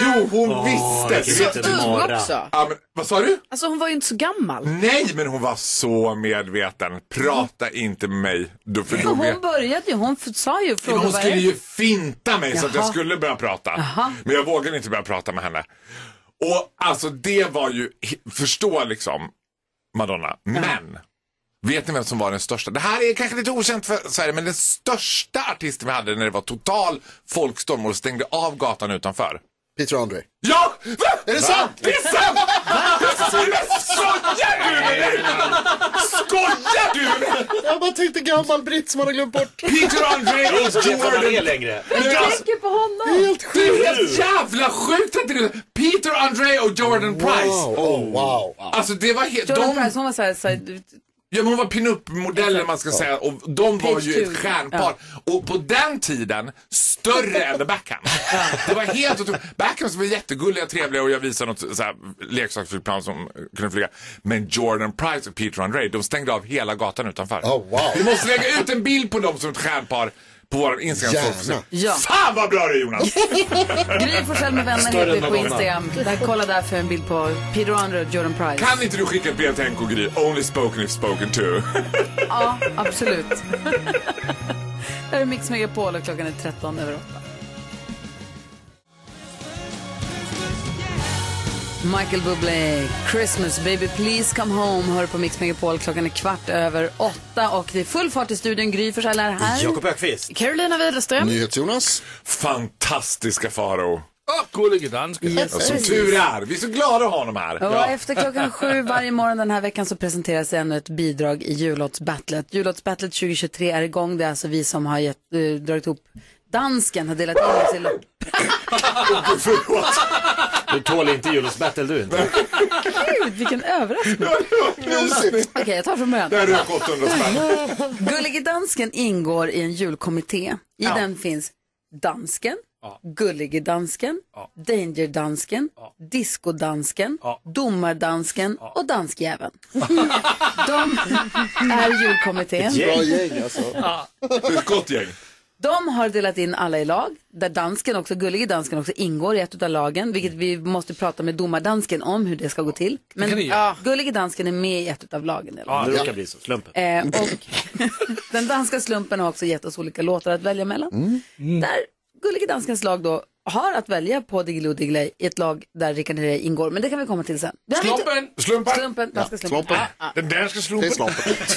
M: Jo, hon visste!
A: vilken liten Så ung mara. också.
M: Ja, men, vad sa du? Mm.
F: Alltså hon var ju inte så gammal.
M: Nej, men hon var så medveten. Prata inte med mig. Då, för då vet...
A: Hon började ju. Hon f- sa ju frågor.
M: Hon
A: vad
M: skulle
A: är-
M: ju finta mig så att jag
A: Jaha.
M: skulle börja prata. Men jag vågade inte börja prata med henne. Och alltså det var ju, he- förstå liksom Madonna. Men, vet ni vem som var den största? Det här är kanske lite okänt för Sverige, men den största artisten vi hade när det var total folkstorm och stängde av gatan utanför.
D: Peter Andre.
M: Ja! Va?
D: Är det sant?
M: Det är sant! Skojar du med mig? Skojar du med mig?
D: Jag bara tänkte gammal britt som man har glömt bort.
M: Peter Andre
D: Jag vet
M: och
D: inte ens vad han är
M: Jordan.
D: längre.
M: Men
A: Jag
M: alltså,
A: tänker på honom.
D: Det är helt
M: det är helt jävla sjukt att det är Peter Andre och Jordan Price.
D: Oh, wow.
M: Alltså det var helt...
A: Jordan
M: De,
A: Price, hon var så här, så här
M: ja, men hon var pinup-modellen man ska säga och de var
A: Page
M: ju ett
A: two.
M: stjärnpar. Och på den tiden större än The Backham. Det var helt otroligt. Backhams var jättegulliga och trevliga och jag visade något så här, leksaksflygplan som kunde flyga. Men Jordan Price och Peter Andre, de stängde av hela gatan utanför. Oh,
D: wow.
M: Vi måste lägga ut en bild på dem som ett stjärnpar på vår Instagram. så får vi se.
D: Gärna.
A: Ja.
M: Fan vad bra du är, Jonas!
A: Gry Forssell med vänner
M: Större
A: heter vi
M: än
A: på
M: någon
A: Instagram. Där, kolla där för en bild på Peter Andre och Jordan Price.
M: Kan inte du skicka ett brev till NK Gry? Only spoken if spoken to. [laughs]
A: Ja, absolut. [laughs] Det här är Mix Megapol och klockan är 13 över 8. Michael Bublé, Christmas baby please come home, hör på Mix Megapol. Klockan är kvart över åtta och det är full fart i studion. Gry Forssell är här.
M: Ökvist.
F: Carolina Widerström.
D: NyhetsJonas.
M: Fantastiska Faro.
E: Gullige dansken.
M: Ja, som tur är. Vi är så glada att ha honom här.
A: Och efter klockan sju varje morgon den här veckan så presenteras ännu ett bidrag i jullåtsbattlet. Jullåtsbattlet 2023 är igång. Det är alltså vi som har gett, eh, dragit ihop dansken har delat in oss
M: [laughs]
A: i lopp.
C: Du tål inte Julius battle du inte.
A: Gud, vilken överraskning. Okej, jag tar från början.
C: Där har jag gått under
A: Gullige dansken ingår i en julkommitté. I
N: Ja.
A: den finns dansken, Gullige dansken, Danger dansken, Disco dansken, Domardansken och danskjäveln. [laughs] De är julkommittén. Ja.
M: Det är ett gott gäng.
A: De har delat in alla i lag, där dansken också, gullige dansken också ingår i ett av lagen, vilket vi måste prata med domardansken om hur det ska gå till.
C: Det kan
A: Men
C: ni göra.
A: gullige dansken är med i ett av lagen. i alla
C: Ja,
A: fall.
C: det råkar bli så. Slumpen.
A: Eh, och [laughs] den danska slumpen har också gett oss olika låtar att välja mellan. Där Gullige Danskens lag då har att välja på Diggiloo Diggiley i ett lag där Rickard Herrey ingår. Men det kan vi komma till sen. Det har vi inte-
M: Slumpen! Slumpen!
A: Slumpen, danska slumpen.
M: Den danska slumpen.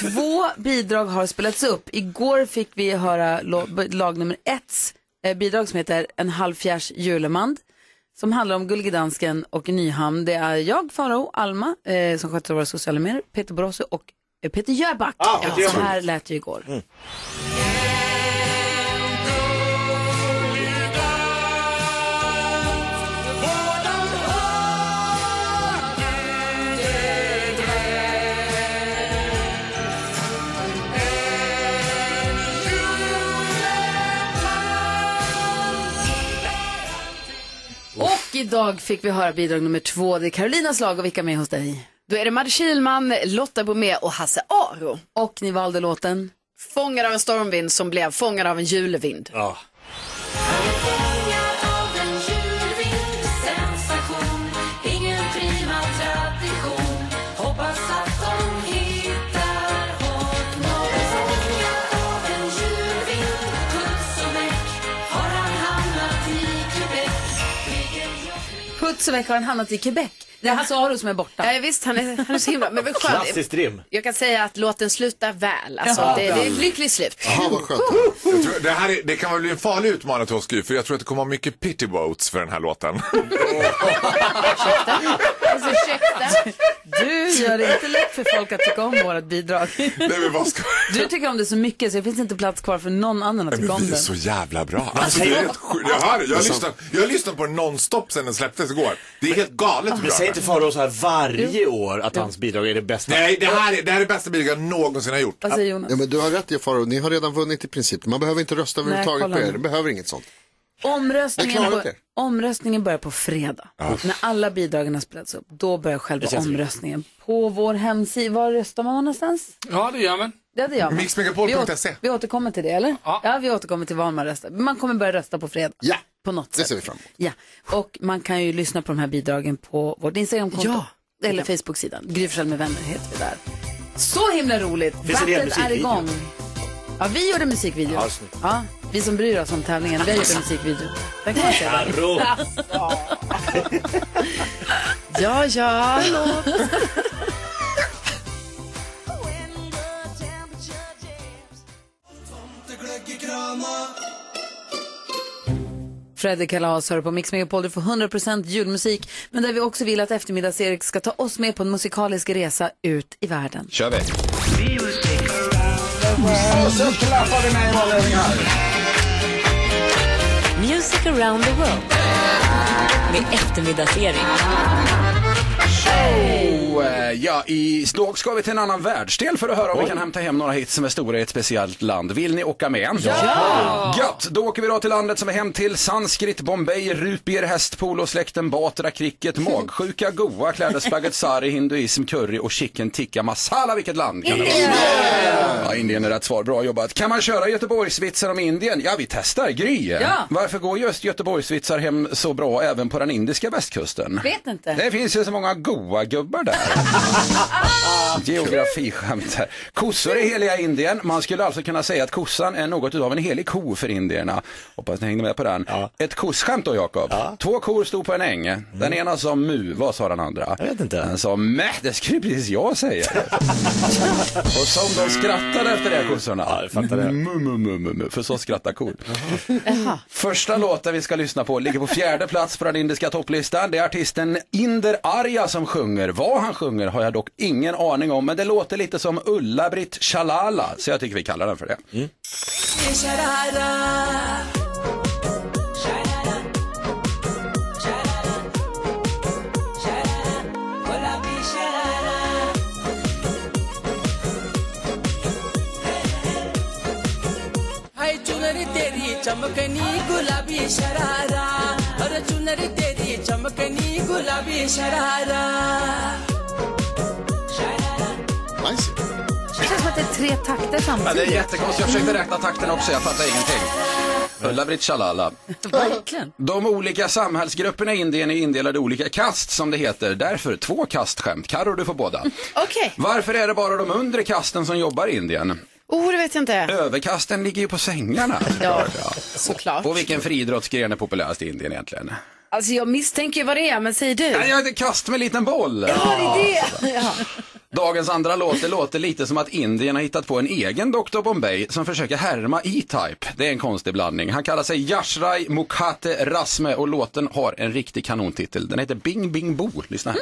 A: Två bidrag har spelats upp. Igår fick vi höra lo- b- lag nummer ett eh, bidrag som heter En halvfjärs julemand. Som handlar om Gullige Dansken och Nyhamn. Det är jag, Farao, Alma eh, som sköter våra sociala medier, Peter Borossi och eh, Peter Jöback.
N: Ah,
A: ja,
N: det är
A: så
N: roligt.
A: här lät det igår. Och idag fick vi höra bidrag nummer två. Det är Carolinas lag och vilka är med hos dig?
F: Då är det Madde Kihlman, Lotta Bromé och Hasse Aro.
A: Och ni valde låten?
F: Fångad av en stormvind som blev fångad av en julevind.
C: Ja.
A: Putsväck har han hamnat i Quebec. Det är Hasse Aro som är borta.
F: Ja, visst, han är, han är så himla... Men vad skönt.
C: Klassiskt rim.
F: Jag kan säga att låten slutar väl. Alltså,
M: Ja,
F: det, det är
M: den.
F: ett lyckligt slut.
M: Jag tror, det, här är, det kan väl bli en farlig utmaning till oss, Gry, för jag tror att det kommer vara mycket pity votes för den här låten.
A: Alltså, ursäkta. Du gör det inte lätt för folk att tycka om vårt bidrag.
M: Nej, men vad ska...
A: Du tycker om det så mycket så det finns inte plats kvar för någon annan att
M: Nej,
A: tycka
M: men
A: om
M: vi är
A: det.
M: så jävla bra. Alltså, det är helt sjukt. Jag hör det. Jag har lyssnat- Jag har lyssnat på den nonstop sen den släpptes igår. Det är helt galet hur
C: Men
M: bra
C: säg
M: den är.
C: inte Farao så här varje år att hans bidrag är det bästa.
M: Nej, det här är det, här är det bästa bidrag jag någonsin har gjort.
A: Vad säger Jonas?
D: Ja, men du har rätt Jefaro, ni har redan vunnit i princip. Man behöver inte rösta
A: Nej,
D: överhuvudtaget
A: kolla
D: på
A: nu.
D: er, det behöver inget sånt. Jag
A: Omröstningen,
D: klarar
A: bör,
D: inte.
A: omröstningen börjar på fredag. När alla bidragen har spelats upp, då börjar själva
E: Det känns
A: omröstningen. På vår hemsida, var röstar man någonstans?
E: Ja, det gör man.
A: Ja, det gör man. Vi,
E: Mixmegapol.se.
A: åter, vi återkommer till det, eller? Ja. vi återkommer till var man röstar. Man kommer börja rösta på fredag.
D: Ja,
A: på något
D: det ser vi fram emot.
A: Ja, och man kan ju lyssna på de här bidragen på vårt Instagramkonto.
D: Ja.
A: Eller Facebook-sidan. Gry Forssell med vänner heter vi där. Så himla roligt!
H: Finns det en
A: Battlet är
H: musikvideo?
A: igång. Ja, vi gjorde musikvideo.
H: Ja, snyggt.
A: Ja, vi som bryr oss om tävlingen, vi har gjort en musikvideo. Den kan man se.
H: Karo.
A: [laughs]
F: Ja, ja.
A: Fredrik Kalas hör på Mix Megapol. Du får 100% julmusik, men där vi också vill att eftermiddags-Erik ska ta oss med på en musikalisk resa ut i världen.
M: Kör vi.
H: Så klappar vi med Music around the world. Med eftermiddagsserien.
N: Och, eh, Ja, i slag ska vi till en annan världsdel för att höra om vi kan hämta hem några hits som är stora i ett speciellt land. Vill ni åka med?
H: Ja!
N: Gött! Då åker vi då till landet som är hem till Sanskrit, Bombay, Rupier, hästpolo, släkten, Batra, cricket, magsjuka, goa, klädesplagget, sari, hinduism, curry och chicken tikka masala. Vilket land kan det vara? Ja, Indien är rätt svar. Bra jobbat. Kan man köra Göteborgsvitsar om Indien? Ja, vi testar. Gry!
A: Ja.
N: Varför går just Göteborgsvitsar hem så bra även på den indiska västkusten?
A: Vet inte.
N: Det finns ju så många goa gubbar [laughs] där. Geografiskämt här. Kossor är heliga i Indien. Man skulle alltså kunna säga att kossan är något av en helig ko för indierna. Hoppas ni hängde med på den. Ett kosskämt då Jakob. Två kor stod på en äng. Den ena sa mu, vad sa den andra? Mm. Jag vet inte. Den sa mäh, det skulle precis jag säga. Och som de skrattade efter det kossorna. Ja, jag fattar det. Mu, mu, mu, mu, mu, för så skrattar kor. Första låten vi ska lyssna på ligger på fjärde plats på den indiska topplistan. Det är artisten Inder Arya som sjunger. Vad han sjunger har jag dock ingen aning om, men det låter lite som Ulla-Britt Shalala, så jag tycker vi kallar den för det.
H: हाय चुनरी तेरी चमकनी गुलाबी शरारा अरे चुनरी तेरी चमकनी गुलाबी sharara
D: Nice.
A: Det känns som att det är tre takter samtidigt.
N: Men det är jättekonstigt, jag försökte räkna takten också, jag fattar ingenting. Ulla-Britt Shalala.
A: Verkligen.
N: De olika samhällsgrupperna i Indien är indelade i olika kast som det heter. Därför två kastskämt. Karo, du får båda.
F: Okej.
N: Varför är det bara de undre kasten som jobbar i Indien?
F: Oh, det vet jag inte.
N: Överkasten ligger ju på sängarna.
F: Ja,
N: såklart. Och vilken friidrottsgren är populärast i Indien egentligen?
F: Alltså, jag misstänker ju vad det är, men säg du.
N: Ja, jag är kast med en liten boll.
F: Ja, det är det. Ja.
N: Dagens andra låt, det låter lite som att Indien har hittat på en egen Dr. Bombay som försöker härma E-Type. Det är en konstig blandning. Han kallar sig Yashrai Mukhate Rasme och låten har en riktig kanontitel. Den heter Bing Bing Bo. Lyssna här.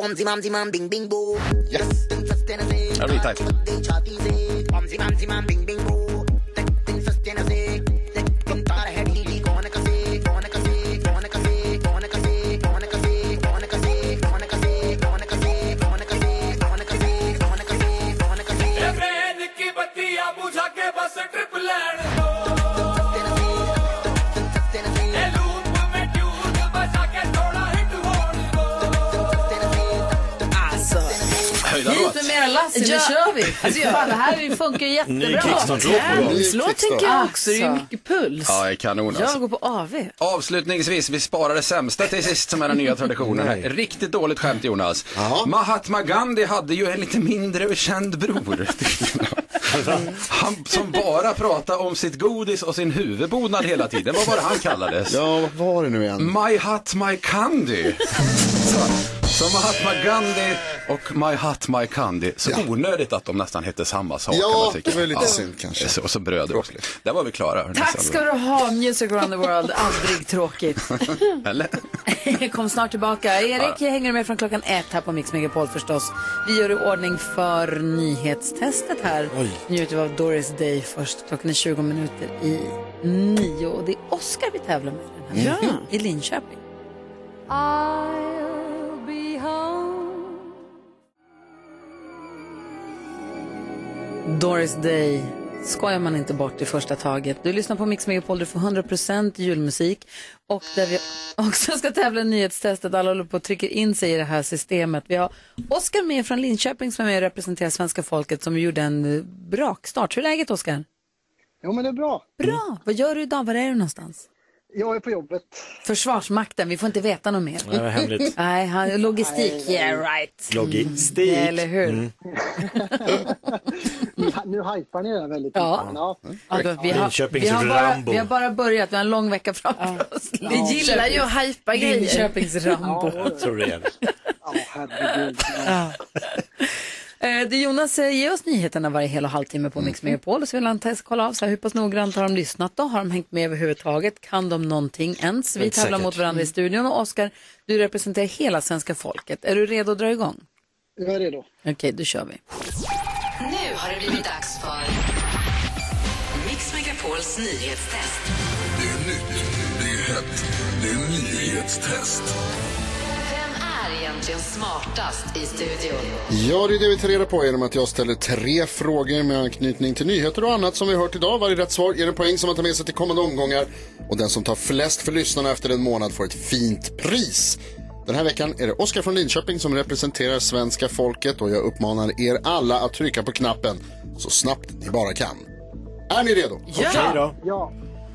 Q: Om dimam dimam bing bing bo.
N: Yes. Ja, det är E-Type.
Q: Om dimam dimam bing bing bo.
A: Lassie, nu kör vi. Alltså, fan, det här funkar ju jättebra.
N: Ny Kickstart-låt på gång.
A: Låt tänker jag också. Det är ju
N: Alltså.
A: mycket puls.
N: Ja, kanon alltså.
A: Jag går på AV.
N: Avslutningsvis, vi sparar det sämsta till sist som är den nya traditionen. här. Riktigt dåligt skämt Jonas. Mahatma Gandhi hade ju en lite mindre känd bror.
F: Mm.
N: han som bara pratade om sitt godis och sin huvudbonad hela tiden. Vad var det han kallades?
D: Ja, vad var det nu igen?
N: My hat, my
D: [laughs]
N: candy. Så, så Mahatma Gandhi och My hat, my candy. Så onödigt att de nästan hette samma sak.
D: Ja,
N: kan man tycka.
D: det var ju lite synd kanske.
N: Så, och så bröder också. Där var vi klara. hörni.
A: Tack ska du ha, Music around the world. Aldrig tråkigt.
N: Eller?
A: [laughs] Kom snart tillbaka. Erik jag hänger med från klockan ett här på Mix Megapol förstås. Vi gör i ordning för nyhetstestet här.
N: Oj.
A: Njuter vi av Doris Day först. Klockan är 20 minuter i nio. Och det är Oscar vi tävlar med den här
R: Ja.
A: veckan i Linköping.
R: I'll be home.
A: Doris Day skojar man inte bort i första taget. Du lyssnar på Mix Megapol, du får 100% julmusik. Och där vi också ska tävla i nyhetstestet. Alla håller på och trycker in sig i det här systemet. Vi har Oskar med från Linköping som är med och representerar svenska folket som gjorde en eh, brakstart. Hur är läget Oskar?
S: Jo, men det är bra.
A: Bra! Vad gör du idag? Var är du någonstans?
S: Jag är på jobbet.
A: Försvarsmakten, vi får inte veta något mer.
S: Nej, det var hemligt.
A: Nej, han- logistik,
S: Nej.
A: yeah right.
C: Logistik.
A: Mm, eller hur?
S: Ni, nu hajpar ni det väldigt
A: Ja.
S: mycket.
A: Ja, då, vi, har, vi, har bara, vi har bara börjat, vi har en lång vecka framför oss.
L: Vi gillar ju att hypa grejer.
A: Linköpings Rambo.
C: Jag tror det är det.
A: Ja. Eh, Det Jonas eh, ger oss nyheterna varje hel och halvtimme på Mix
L: Mm.
A: Megapol och så vill han testa kolla av så här, hur pass noggrant har de lyssnat då? Har de hängt med överhuvudtaget? Kan de någonting ens? Vi
L: Inte
A: tävlar
L: säkert.
A: mot varandra i studion och Oskar, du representerar hela svenska folket. Är du redo att dra igång?
S: Jag är redo.
A: Okej, då kör vi.
R: Nu har det blivit dags för Mix Megapols nyhetstest.
T: Det är nytt, det är hett, det är nyhetstest.
R: Vem är egentligen smartast i studion?
D: Ja, det är det vi tar reda på genom att jag ställer tre frågor med anknytning till nyheter och annat som vi hört idag. Varje rätt svar ger en poäng som man tar med sig till kommande omgångar. Och den som tar flest för lyssnarna efter en månad får ett fint pris. Den här veckan är det Oskar från Linköping som representerar svenska folket och jag uppmanar er alla att trycka på knappen så snabbt ni bara kan. Är ni redo?
S: Ja.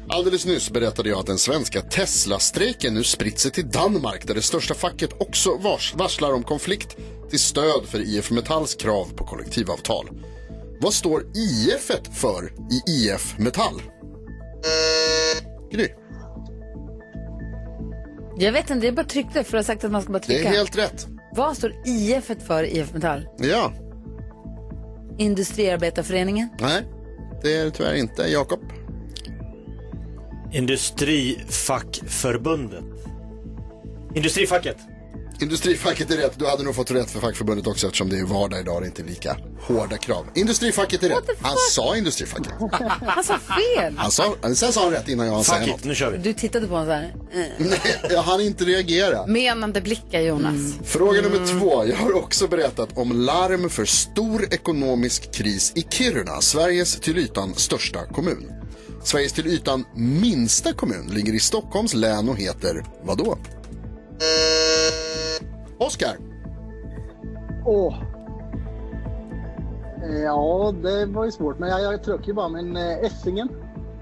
D: Alldeles nyss berättade jag att den svenska Tesla-strejken nu spritt sig till Danmark där det största facket också vars varslar om konflikt till stöd för IF Metalls krav på kollektivavtal. Vad står IF et för i IF Metall? Gry,
A: Jag vet inte, jag bara tryckte för att ha sagt att man ska bara
D: det
A: trycka.
D: är helt rätt.
A: Vad står IF för i IF Metall?
D: Ja,
A: Industriarbetarföreningen?
D: nej, det är det tyvärr inte. Jakob?
C: Industrifackförbundet. Industrifacket.
D: Industrifacket är rätt. Du hade nog fått rätt för fackförbundet också eftersom det är vardag idag och det är inte lika hårda krav. Industrifacket är rätt. Han sa industrifacket.
A: Han sa fel!
D: Han sa, sen sa han rätt innan jag hann säga något.
C: nu kör vi.
A: Du tittade på honom så här. eh,
D: Nej, jag hann inte reagera.
F: Menande blickar Jonas.
A: Mm.
D: Fråga nummer två. Jag har också berättat om larm för stor ekonomisk kris i Kiruna, Sveriges till ytan största kommun. Sveriges till ytan minsta kommun ligger i Stockholms län och heter vadå? Oskar.
S: Åh. Eh, Ja, det var ju svårt. Men jag, jag trycker bara. Men eh, Essingen?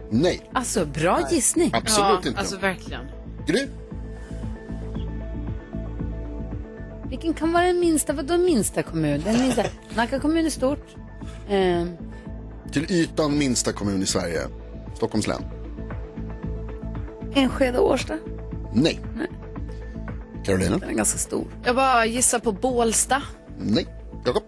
D: Nej.
A: Alltså, bra
S: Nej. gissning.
D: Absolut
S: Ja,
D: inte.
S: alltså,
F: verkligen.
D: Gry?
A: Vilken kan vara den minsta? Vadå minsta kommun? Den minsta. Nacka kommun är stort. Ehm,
D: Till ytan minsta kommun i Sverige. Stockholms län.
A: Enskede och Årsta.
D: Nej. Carolina? Den
A: är ganska stor.
F: Jag bara gissar på Bålsta.
D: Nej. Jakob?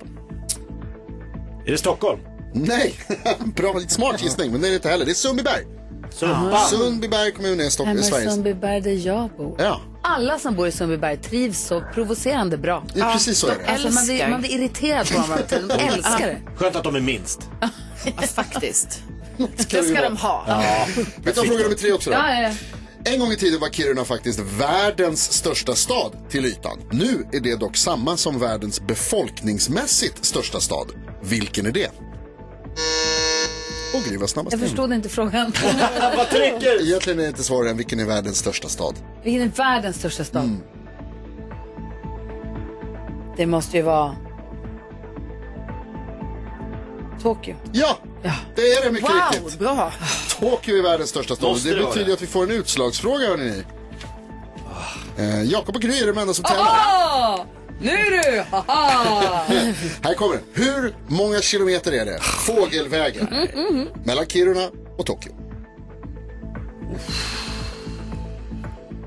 C: Är det Stockholm?
D: Nej. [laughs] Bra, smart gissning, men det är det inte heller. Det är Sundbyberg.
A: Sundbyberg.
D: Sundbyberg kommun är
A: Hemma i
D: Stockholm, Sveriges...
A: Sundbyberg där jag bor.
D: Ja.
A: Alla som bor i Sundbyberg trivs så provocerande bra.
D: Det är precis så
A: de
D: är det.
A: Alltså, man, blir,
D: Älskar.
A: man blir irriterad på dem. hela [laughs] tiden. De älskar det.
C: Skönt att de är minst.
F: Faktiskt.
D: ska vi vara. Ja. Vi tar fråga nummer tre också då.
A: Ja, ja.
D: En gång i tiden var Kiruna faktiskt världens största stad till ytan. Nu är det dock samma som världens befolkningsmässigt största stad. Vilken är det? Och Gry var snabbast.
A: Jag förstod inte frågan.
D: Vad trycker? Egentligen är inte svaret än vilken är världens största stad.
A: Vilken är världens största stad?
D: Mm.
A: Det måste ju vara... Tokyo.
D: Ja, det är det mycket
A: Wow,
D: riktigt. [laughs]
F: Bra.
D: Tokyo är världens största stad.
A: Måste
D: Det
A: det vara
D: betyder
A: det?
D: att vi får en utslagsfråga, hörni. Eh, Jakob och Gry är de enda som tävlar.
A: Ah! Åh! Nu du! Haha!
D: Här kommer den. Hur många kilometer är det fågelvägen
A: Mm, mm, mm.
D: mellan Kiruna och Tokyo?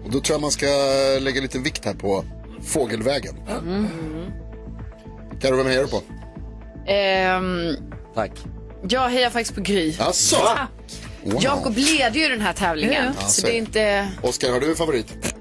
D: Och då tror jag man ska lägga lite vikt här på fågelvägen. Carro, vem hejar du på?
F: Ehm,
D: Tack.
F: jag hejar faktiskt på Gry.
D: Asså?
F: Tack. Jakob leder ju den här tävlingen.
D: Ja, ja.
F: Så det är inte...
D: Oskar, har du en favorit?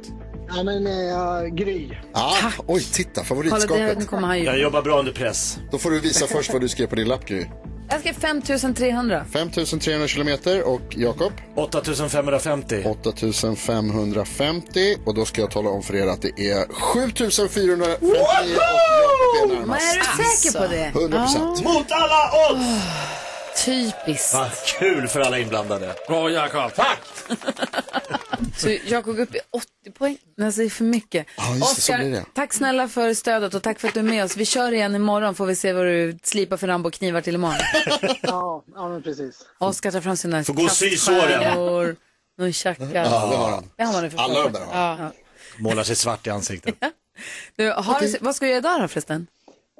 S: Ja, men eh, Gry.
D: Ah, oj, titta,
A: Kolla, det- nu
D: favoritskapet.
A: kommer han ju. Jag
D: jobbar bra under press. Då får du visa först vad du skrev på din lapp, Gry.
A: Jag skrev 5300.
D: 5300 kilometer och Jakob? 8550. 8550 och då ska jag tala om för er att det är 7450 och Jakob är
A: Men
D: närmast.
A: är du
D: alltså?
A: säker på det?
D: 100%.
C: Mot alla odds!
F: Typiskt.
A: [laughs]
C: Vad Ah, kul för alla inblandade. Bra Jakob, tack!
F: Så Jakob upp i 80 poäng.
A: Alltså det är för mycket.
D: Ja, just det, så blir det.
A: tack snälla för stödet och tack för att du är med oss. Vi kör igen imorgon får vi se vad du slipar för Rambo-knivar
D: [laughs]
A: till imorgon.
S: Ja, ja men precis.
A: Oskar tar fram sina
S: Får gå och sy
A: kaststjärnor,
S: såren.
A: nunchakas.
C: Ja, det har han.
A: Det har man nu för
C: Alla
A: fan.
C: de där
A: ja. ja.
C: Målar sig svart i ansiktet.
A: du, har du, Vad ska du göra idag då förresten?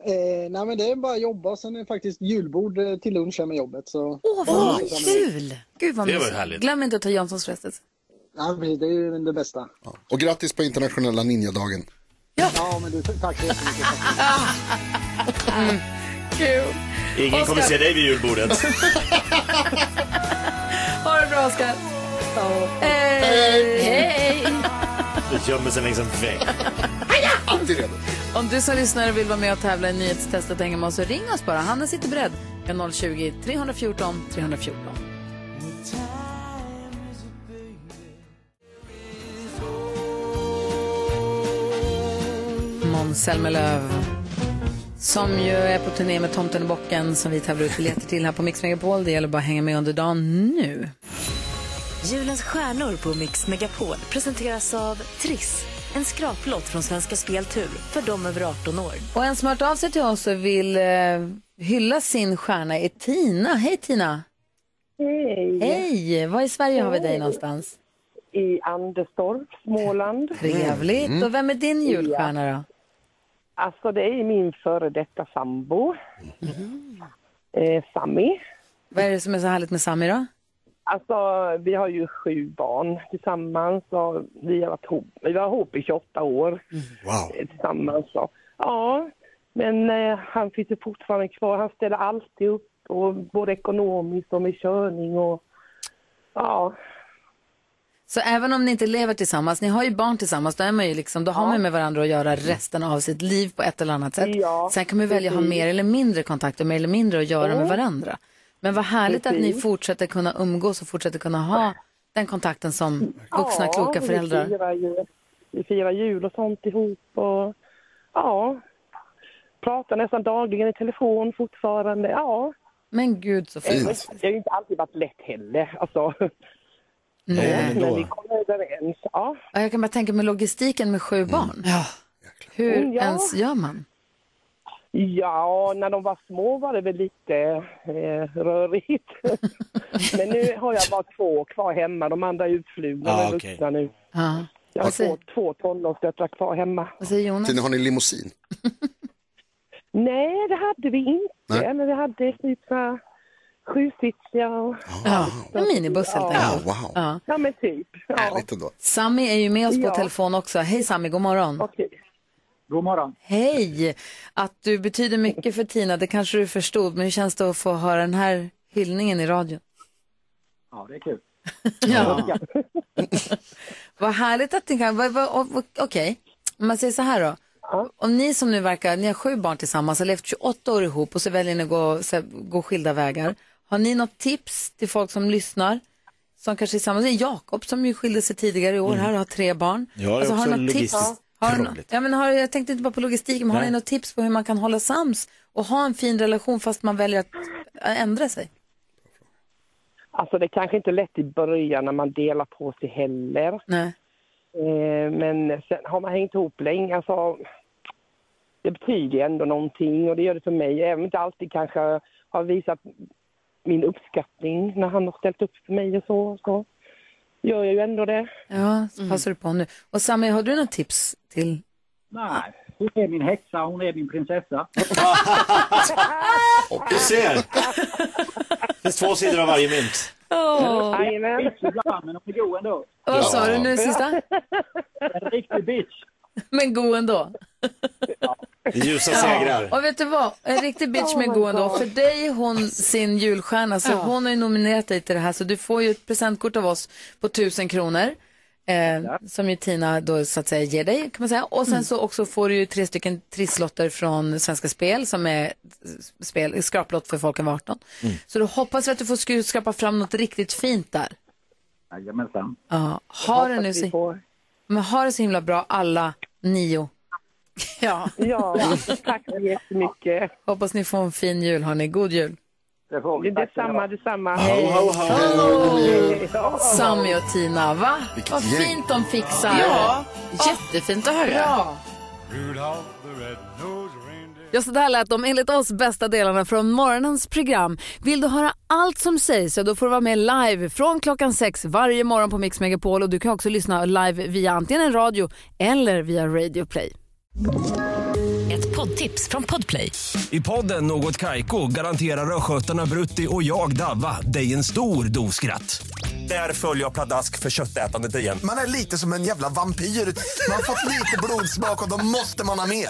S: Eh, nej men det är bara att jobba och sen är det faktiskt julbord eh, till lunch här med jobbet. Åh
A: Åh, vad kul! Gud vad
D: Det var
A: mysigt.
D: härligt.
A: Glöm inte att ta Janssons frestelse.
S: Ja, precis, det är ju det bästa.
D: Och grattis på internationella ninjadagen.
A: Ja,
S: men du, tack så jättemycket.
A: Kul!
C: Ingen kommer se dig vid julbordet.
A: Ha det bra Oskar! Hej! Hej!
C: Du gömmer sig längs en vägg.
D: Alltid redo.
A: Om du som lyssnare vill vara med och tävla i nyhetstestet och hänga med oss så ring oss bara. Hanna sitter beredd. 020 314 314. Måns Zelmerlöw som ju är på turné med Tomten och Bocken som vi tävlar ut biljetter till här på Mix Megapol. Det gäller bara att hänga med under dagen nu.
B: Julens stjärnor på Mix Megapol presenteras av Triss. En skraplott från Svenska Speltur för de över 18 år.
A: Och en som har hört av sig till oss och vill eh, hylla sin stjärna är Tina. Hej Tina!
U: Hej!
A: Hej! Var i Sverige har vi dig
U: Hej.
A: någonstans?
U: I Anderstorp, Småland.
A: Trevligt. Mm. Och vem är din julstjärna då?
U: Alltså det är min före detta sambo.
S: Mm.
U: Eh, Sami.
A: Vad är det som är så härligt med Sami då?
U: Alltså vi har ju sju barn tillsammans och vi har varit ihop, vi var ihop i 28 år.
D: Wow.
U: eh, Tillsammans och, ja. Men eh, han finns ju fortfarande kvar. Han ställer alltid upp och både ekonomiskt och med körning och ja.
A: Så även om ni inte lever tillsammans, ni har ju barn tillsammans, då, är man ju liksom, då har man ju med varandra att göra resten av sitt liv på ett eller annat sätt. Sen kan man ju välja att ha
J: precis.
A: mer eller mindre kontakt och mer eller mindre att göra med varandra. Men vad härligt att ni
J: Precis.
A: fortsätter kunna umgås och fortsätter kunna ha den kontakten som vuxna
U: ja,
A: kloka föräldrar.
U: Vi firar, ju, vi firar jul och sånt ihop och ja, pratar nästan dagligen i telefon fortfarande. Ja.
A: Men gud så fint.
U: Det har ju inte alltid varit lätt heller. Alltså.
A: Nej.
U: Men vi kommer överens. Ja.
A: Ja, Jag kan bara tänka mig logistiken med sju barn. Hur
U: Mm, ja.
A: ens gör man?
U: ja, när de var små var det väl lite eh, rörigt. Men nu har jag bara två kvar hemma. De andra är utflugna
D: Ah,
U: och är
D: okej.
U: vuxna nu.
A: Ja.
U: Jag
D: Vad
U: har
D: säger-
U: två, två tonårsdöttrar kvar hemma.
A: Vad säger Jonas?
D: Tina, har ni limousin?
U: Nej, det hade vi inte.
D: Nej.
U: Men vi hade typ så här sjusitsiga och...
A: Ja, en minibuss helt
U: Ja.
A: enkelt.
D: wow.
A: Ja.
U: Ja, men typ. Ja.
D: ändå.
A: Sami är ju med oss på
U: Ja.
A: telefon också. Hej Sami, god morgon.
S: God morgon.
A: Hej! Att du betyder mycket för Tina, det kanske du förstod, men hur känns det att få höra den här hyllningen i radion?
S: Ja, det är kul.
A: Ja. vad härligt att ni kan, vad- vad- och- och- okej, om man säger så här då. Om ni som nu verkar, ni har sju barn tillsammans, har levt 28 år ihop och så väljer ni att gå, så här, gå skilda vägar. Har ni något tips till folk som lyssnar? Som kanske är tillsammans, det är Jakob som ju skilde sig tidigare i år här och har tre barn. Alltså,
C: Ja, det är
A: har
C: Mm. också
A: du något tips?
C: logistiskt
A: Har du något,
C: krångligt.
A: ja, men har, jag tänkte inte bara på logistiken, men har
C: Nej.
A: ni något tips på hur man kan hålla sams och ha en fin relation fast man väljer att äh, ändra sig?
U: Alltså det kanske inte är lätt i början när man delar på sig heller.
A: Nej.
U: Eh, Men sen har man hängt ihop länge. Alltså, det betyder ju ändå någonting och det gör det för mig. Även om inte alltid kanske har visat min uppskattning när han har ställt upp för mig och så, så gör jag ju ändå det.
A: Ja,
C: Mm.
A: så passar du på nu. Och Sami, har du några tips till?
V: Nej, hon är min häxa, hon är min prinsessa.
C: Du ser! Det finns två sidor av varje mynt.
A: Åh.
V: Jajamän. Bitch ibland, men hon är god ändå.
A: Vad sa du nu sista?
V: En riktig bitch.
A: Men god ändå.
C: Det är Ljusa segrar.
A: Och vet du vad? En riktig bitch men god ändå. För dig hon sin julstjärna, så hon har ju nominerat dig till det här. Så du får ju ett presentkort av oss på 1000 kronor. Eh, som ju Tina då så att säga ger dig kan man säga. Och sen så också får du ju tre stycken trisslotter från Svenska Spel som är s- spel, skraplott för folk över 18. Så då hoppas vi att du får skru- skrapa fram något riktigt fint där.
V: Jajamensan.
A: Ja, ha det nu så, men ha det så himla bra alla nio. Ja.
U: ja, tack så jättemycket.
A: Hoppas ni får en fin jul hörni, god jul.
V: Det får
N: tá
V: vi.
U: Detsamma, detsamma.
A: Ho, ho, ho.
U: Hej.
A: Sami och Tina, va?
U: Vilket
A: Vad
U: gäng.
A: fint de fixar.
L: Ja, jättefint att höra.
A: Bra. Ja, så där lät de enligt oss bästa delarna från morgonens program. Vill du höra allt som sägs så då får du vara med live från klockan sex varje morgon på Mix Megapol och du kan också lyssna live via antingen en radio eller via Radio Play.
B: Ett poddtips från Podplay.
W: I podden Något Kaiko garanterar östgötarna Brutti och jag, Davva, dig en stor dos skratt. Där följer jag pladask för köttätandet igen.
X: Man är lite som en jävla vampyr. Man har fått lite blodsmak och då måste man ha mer.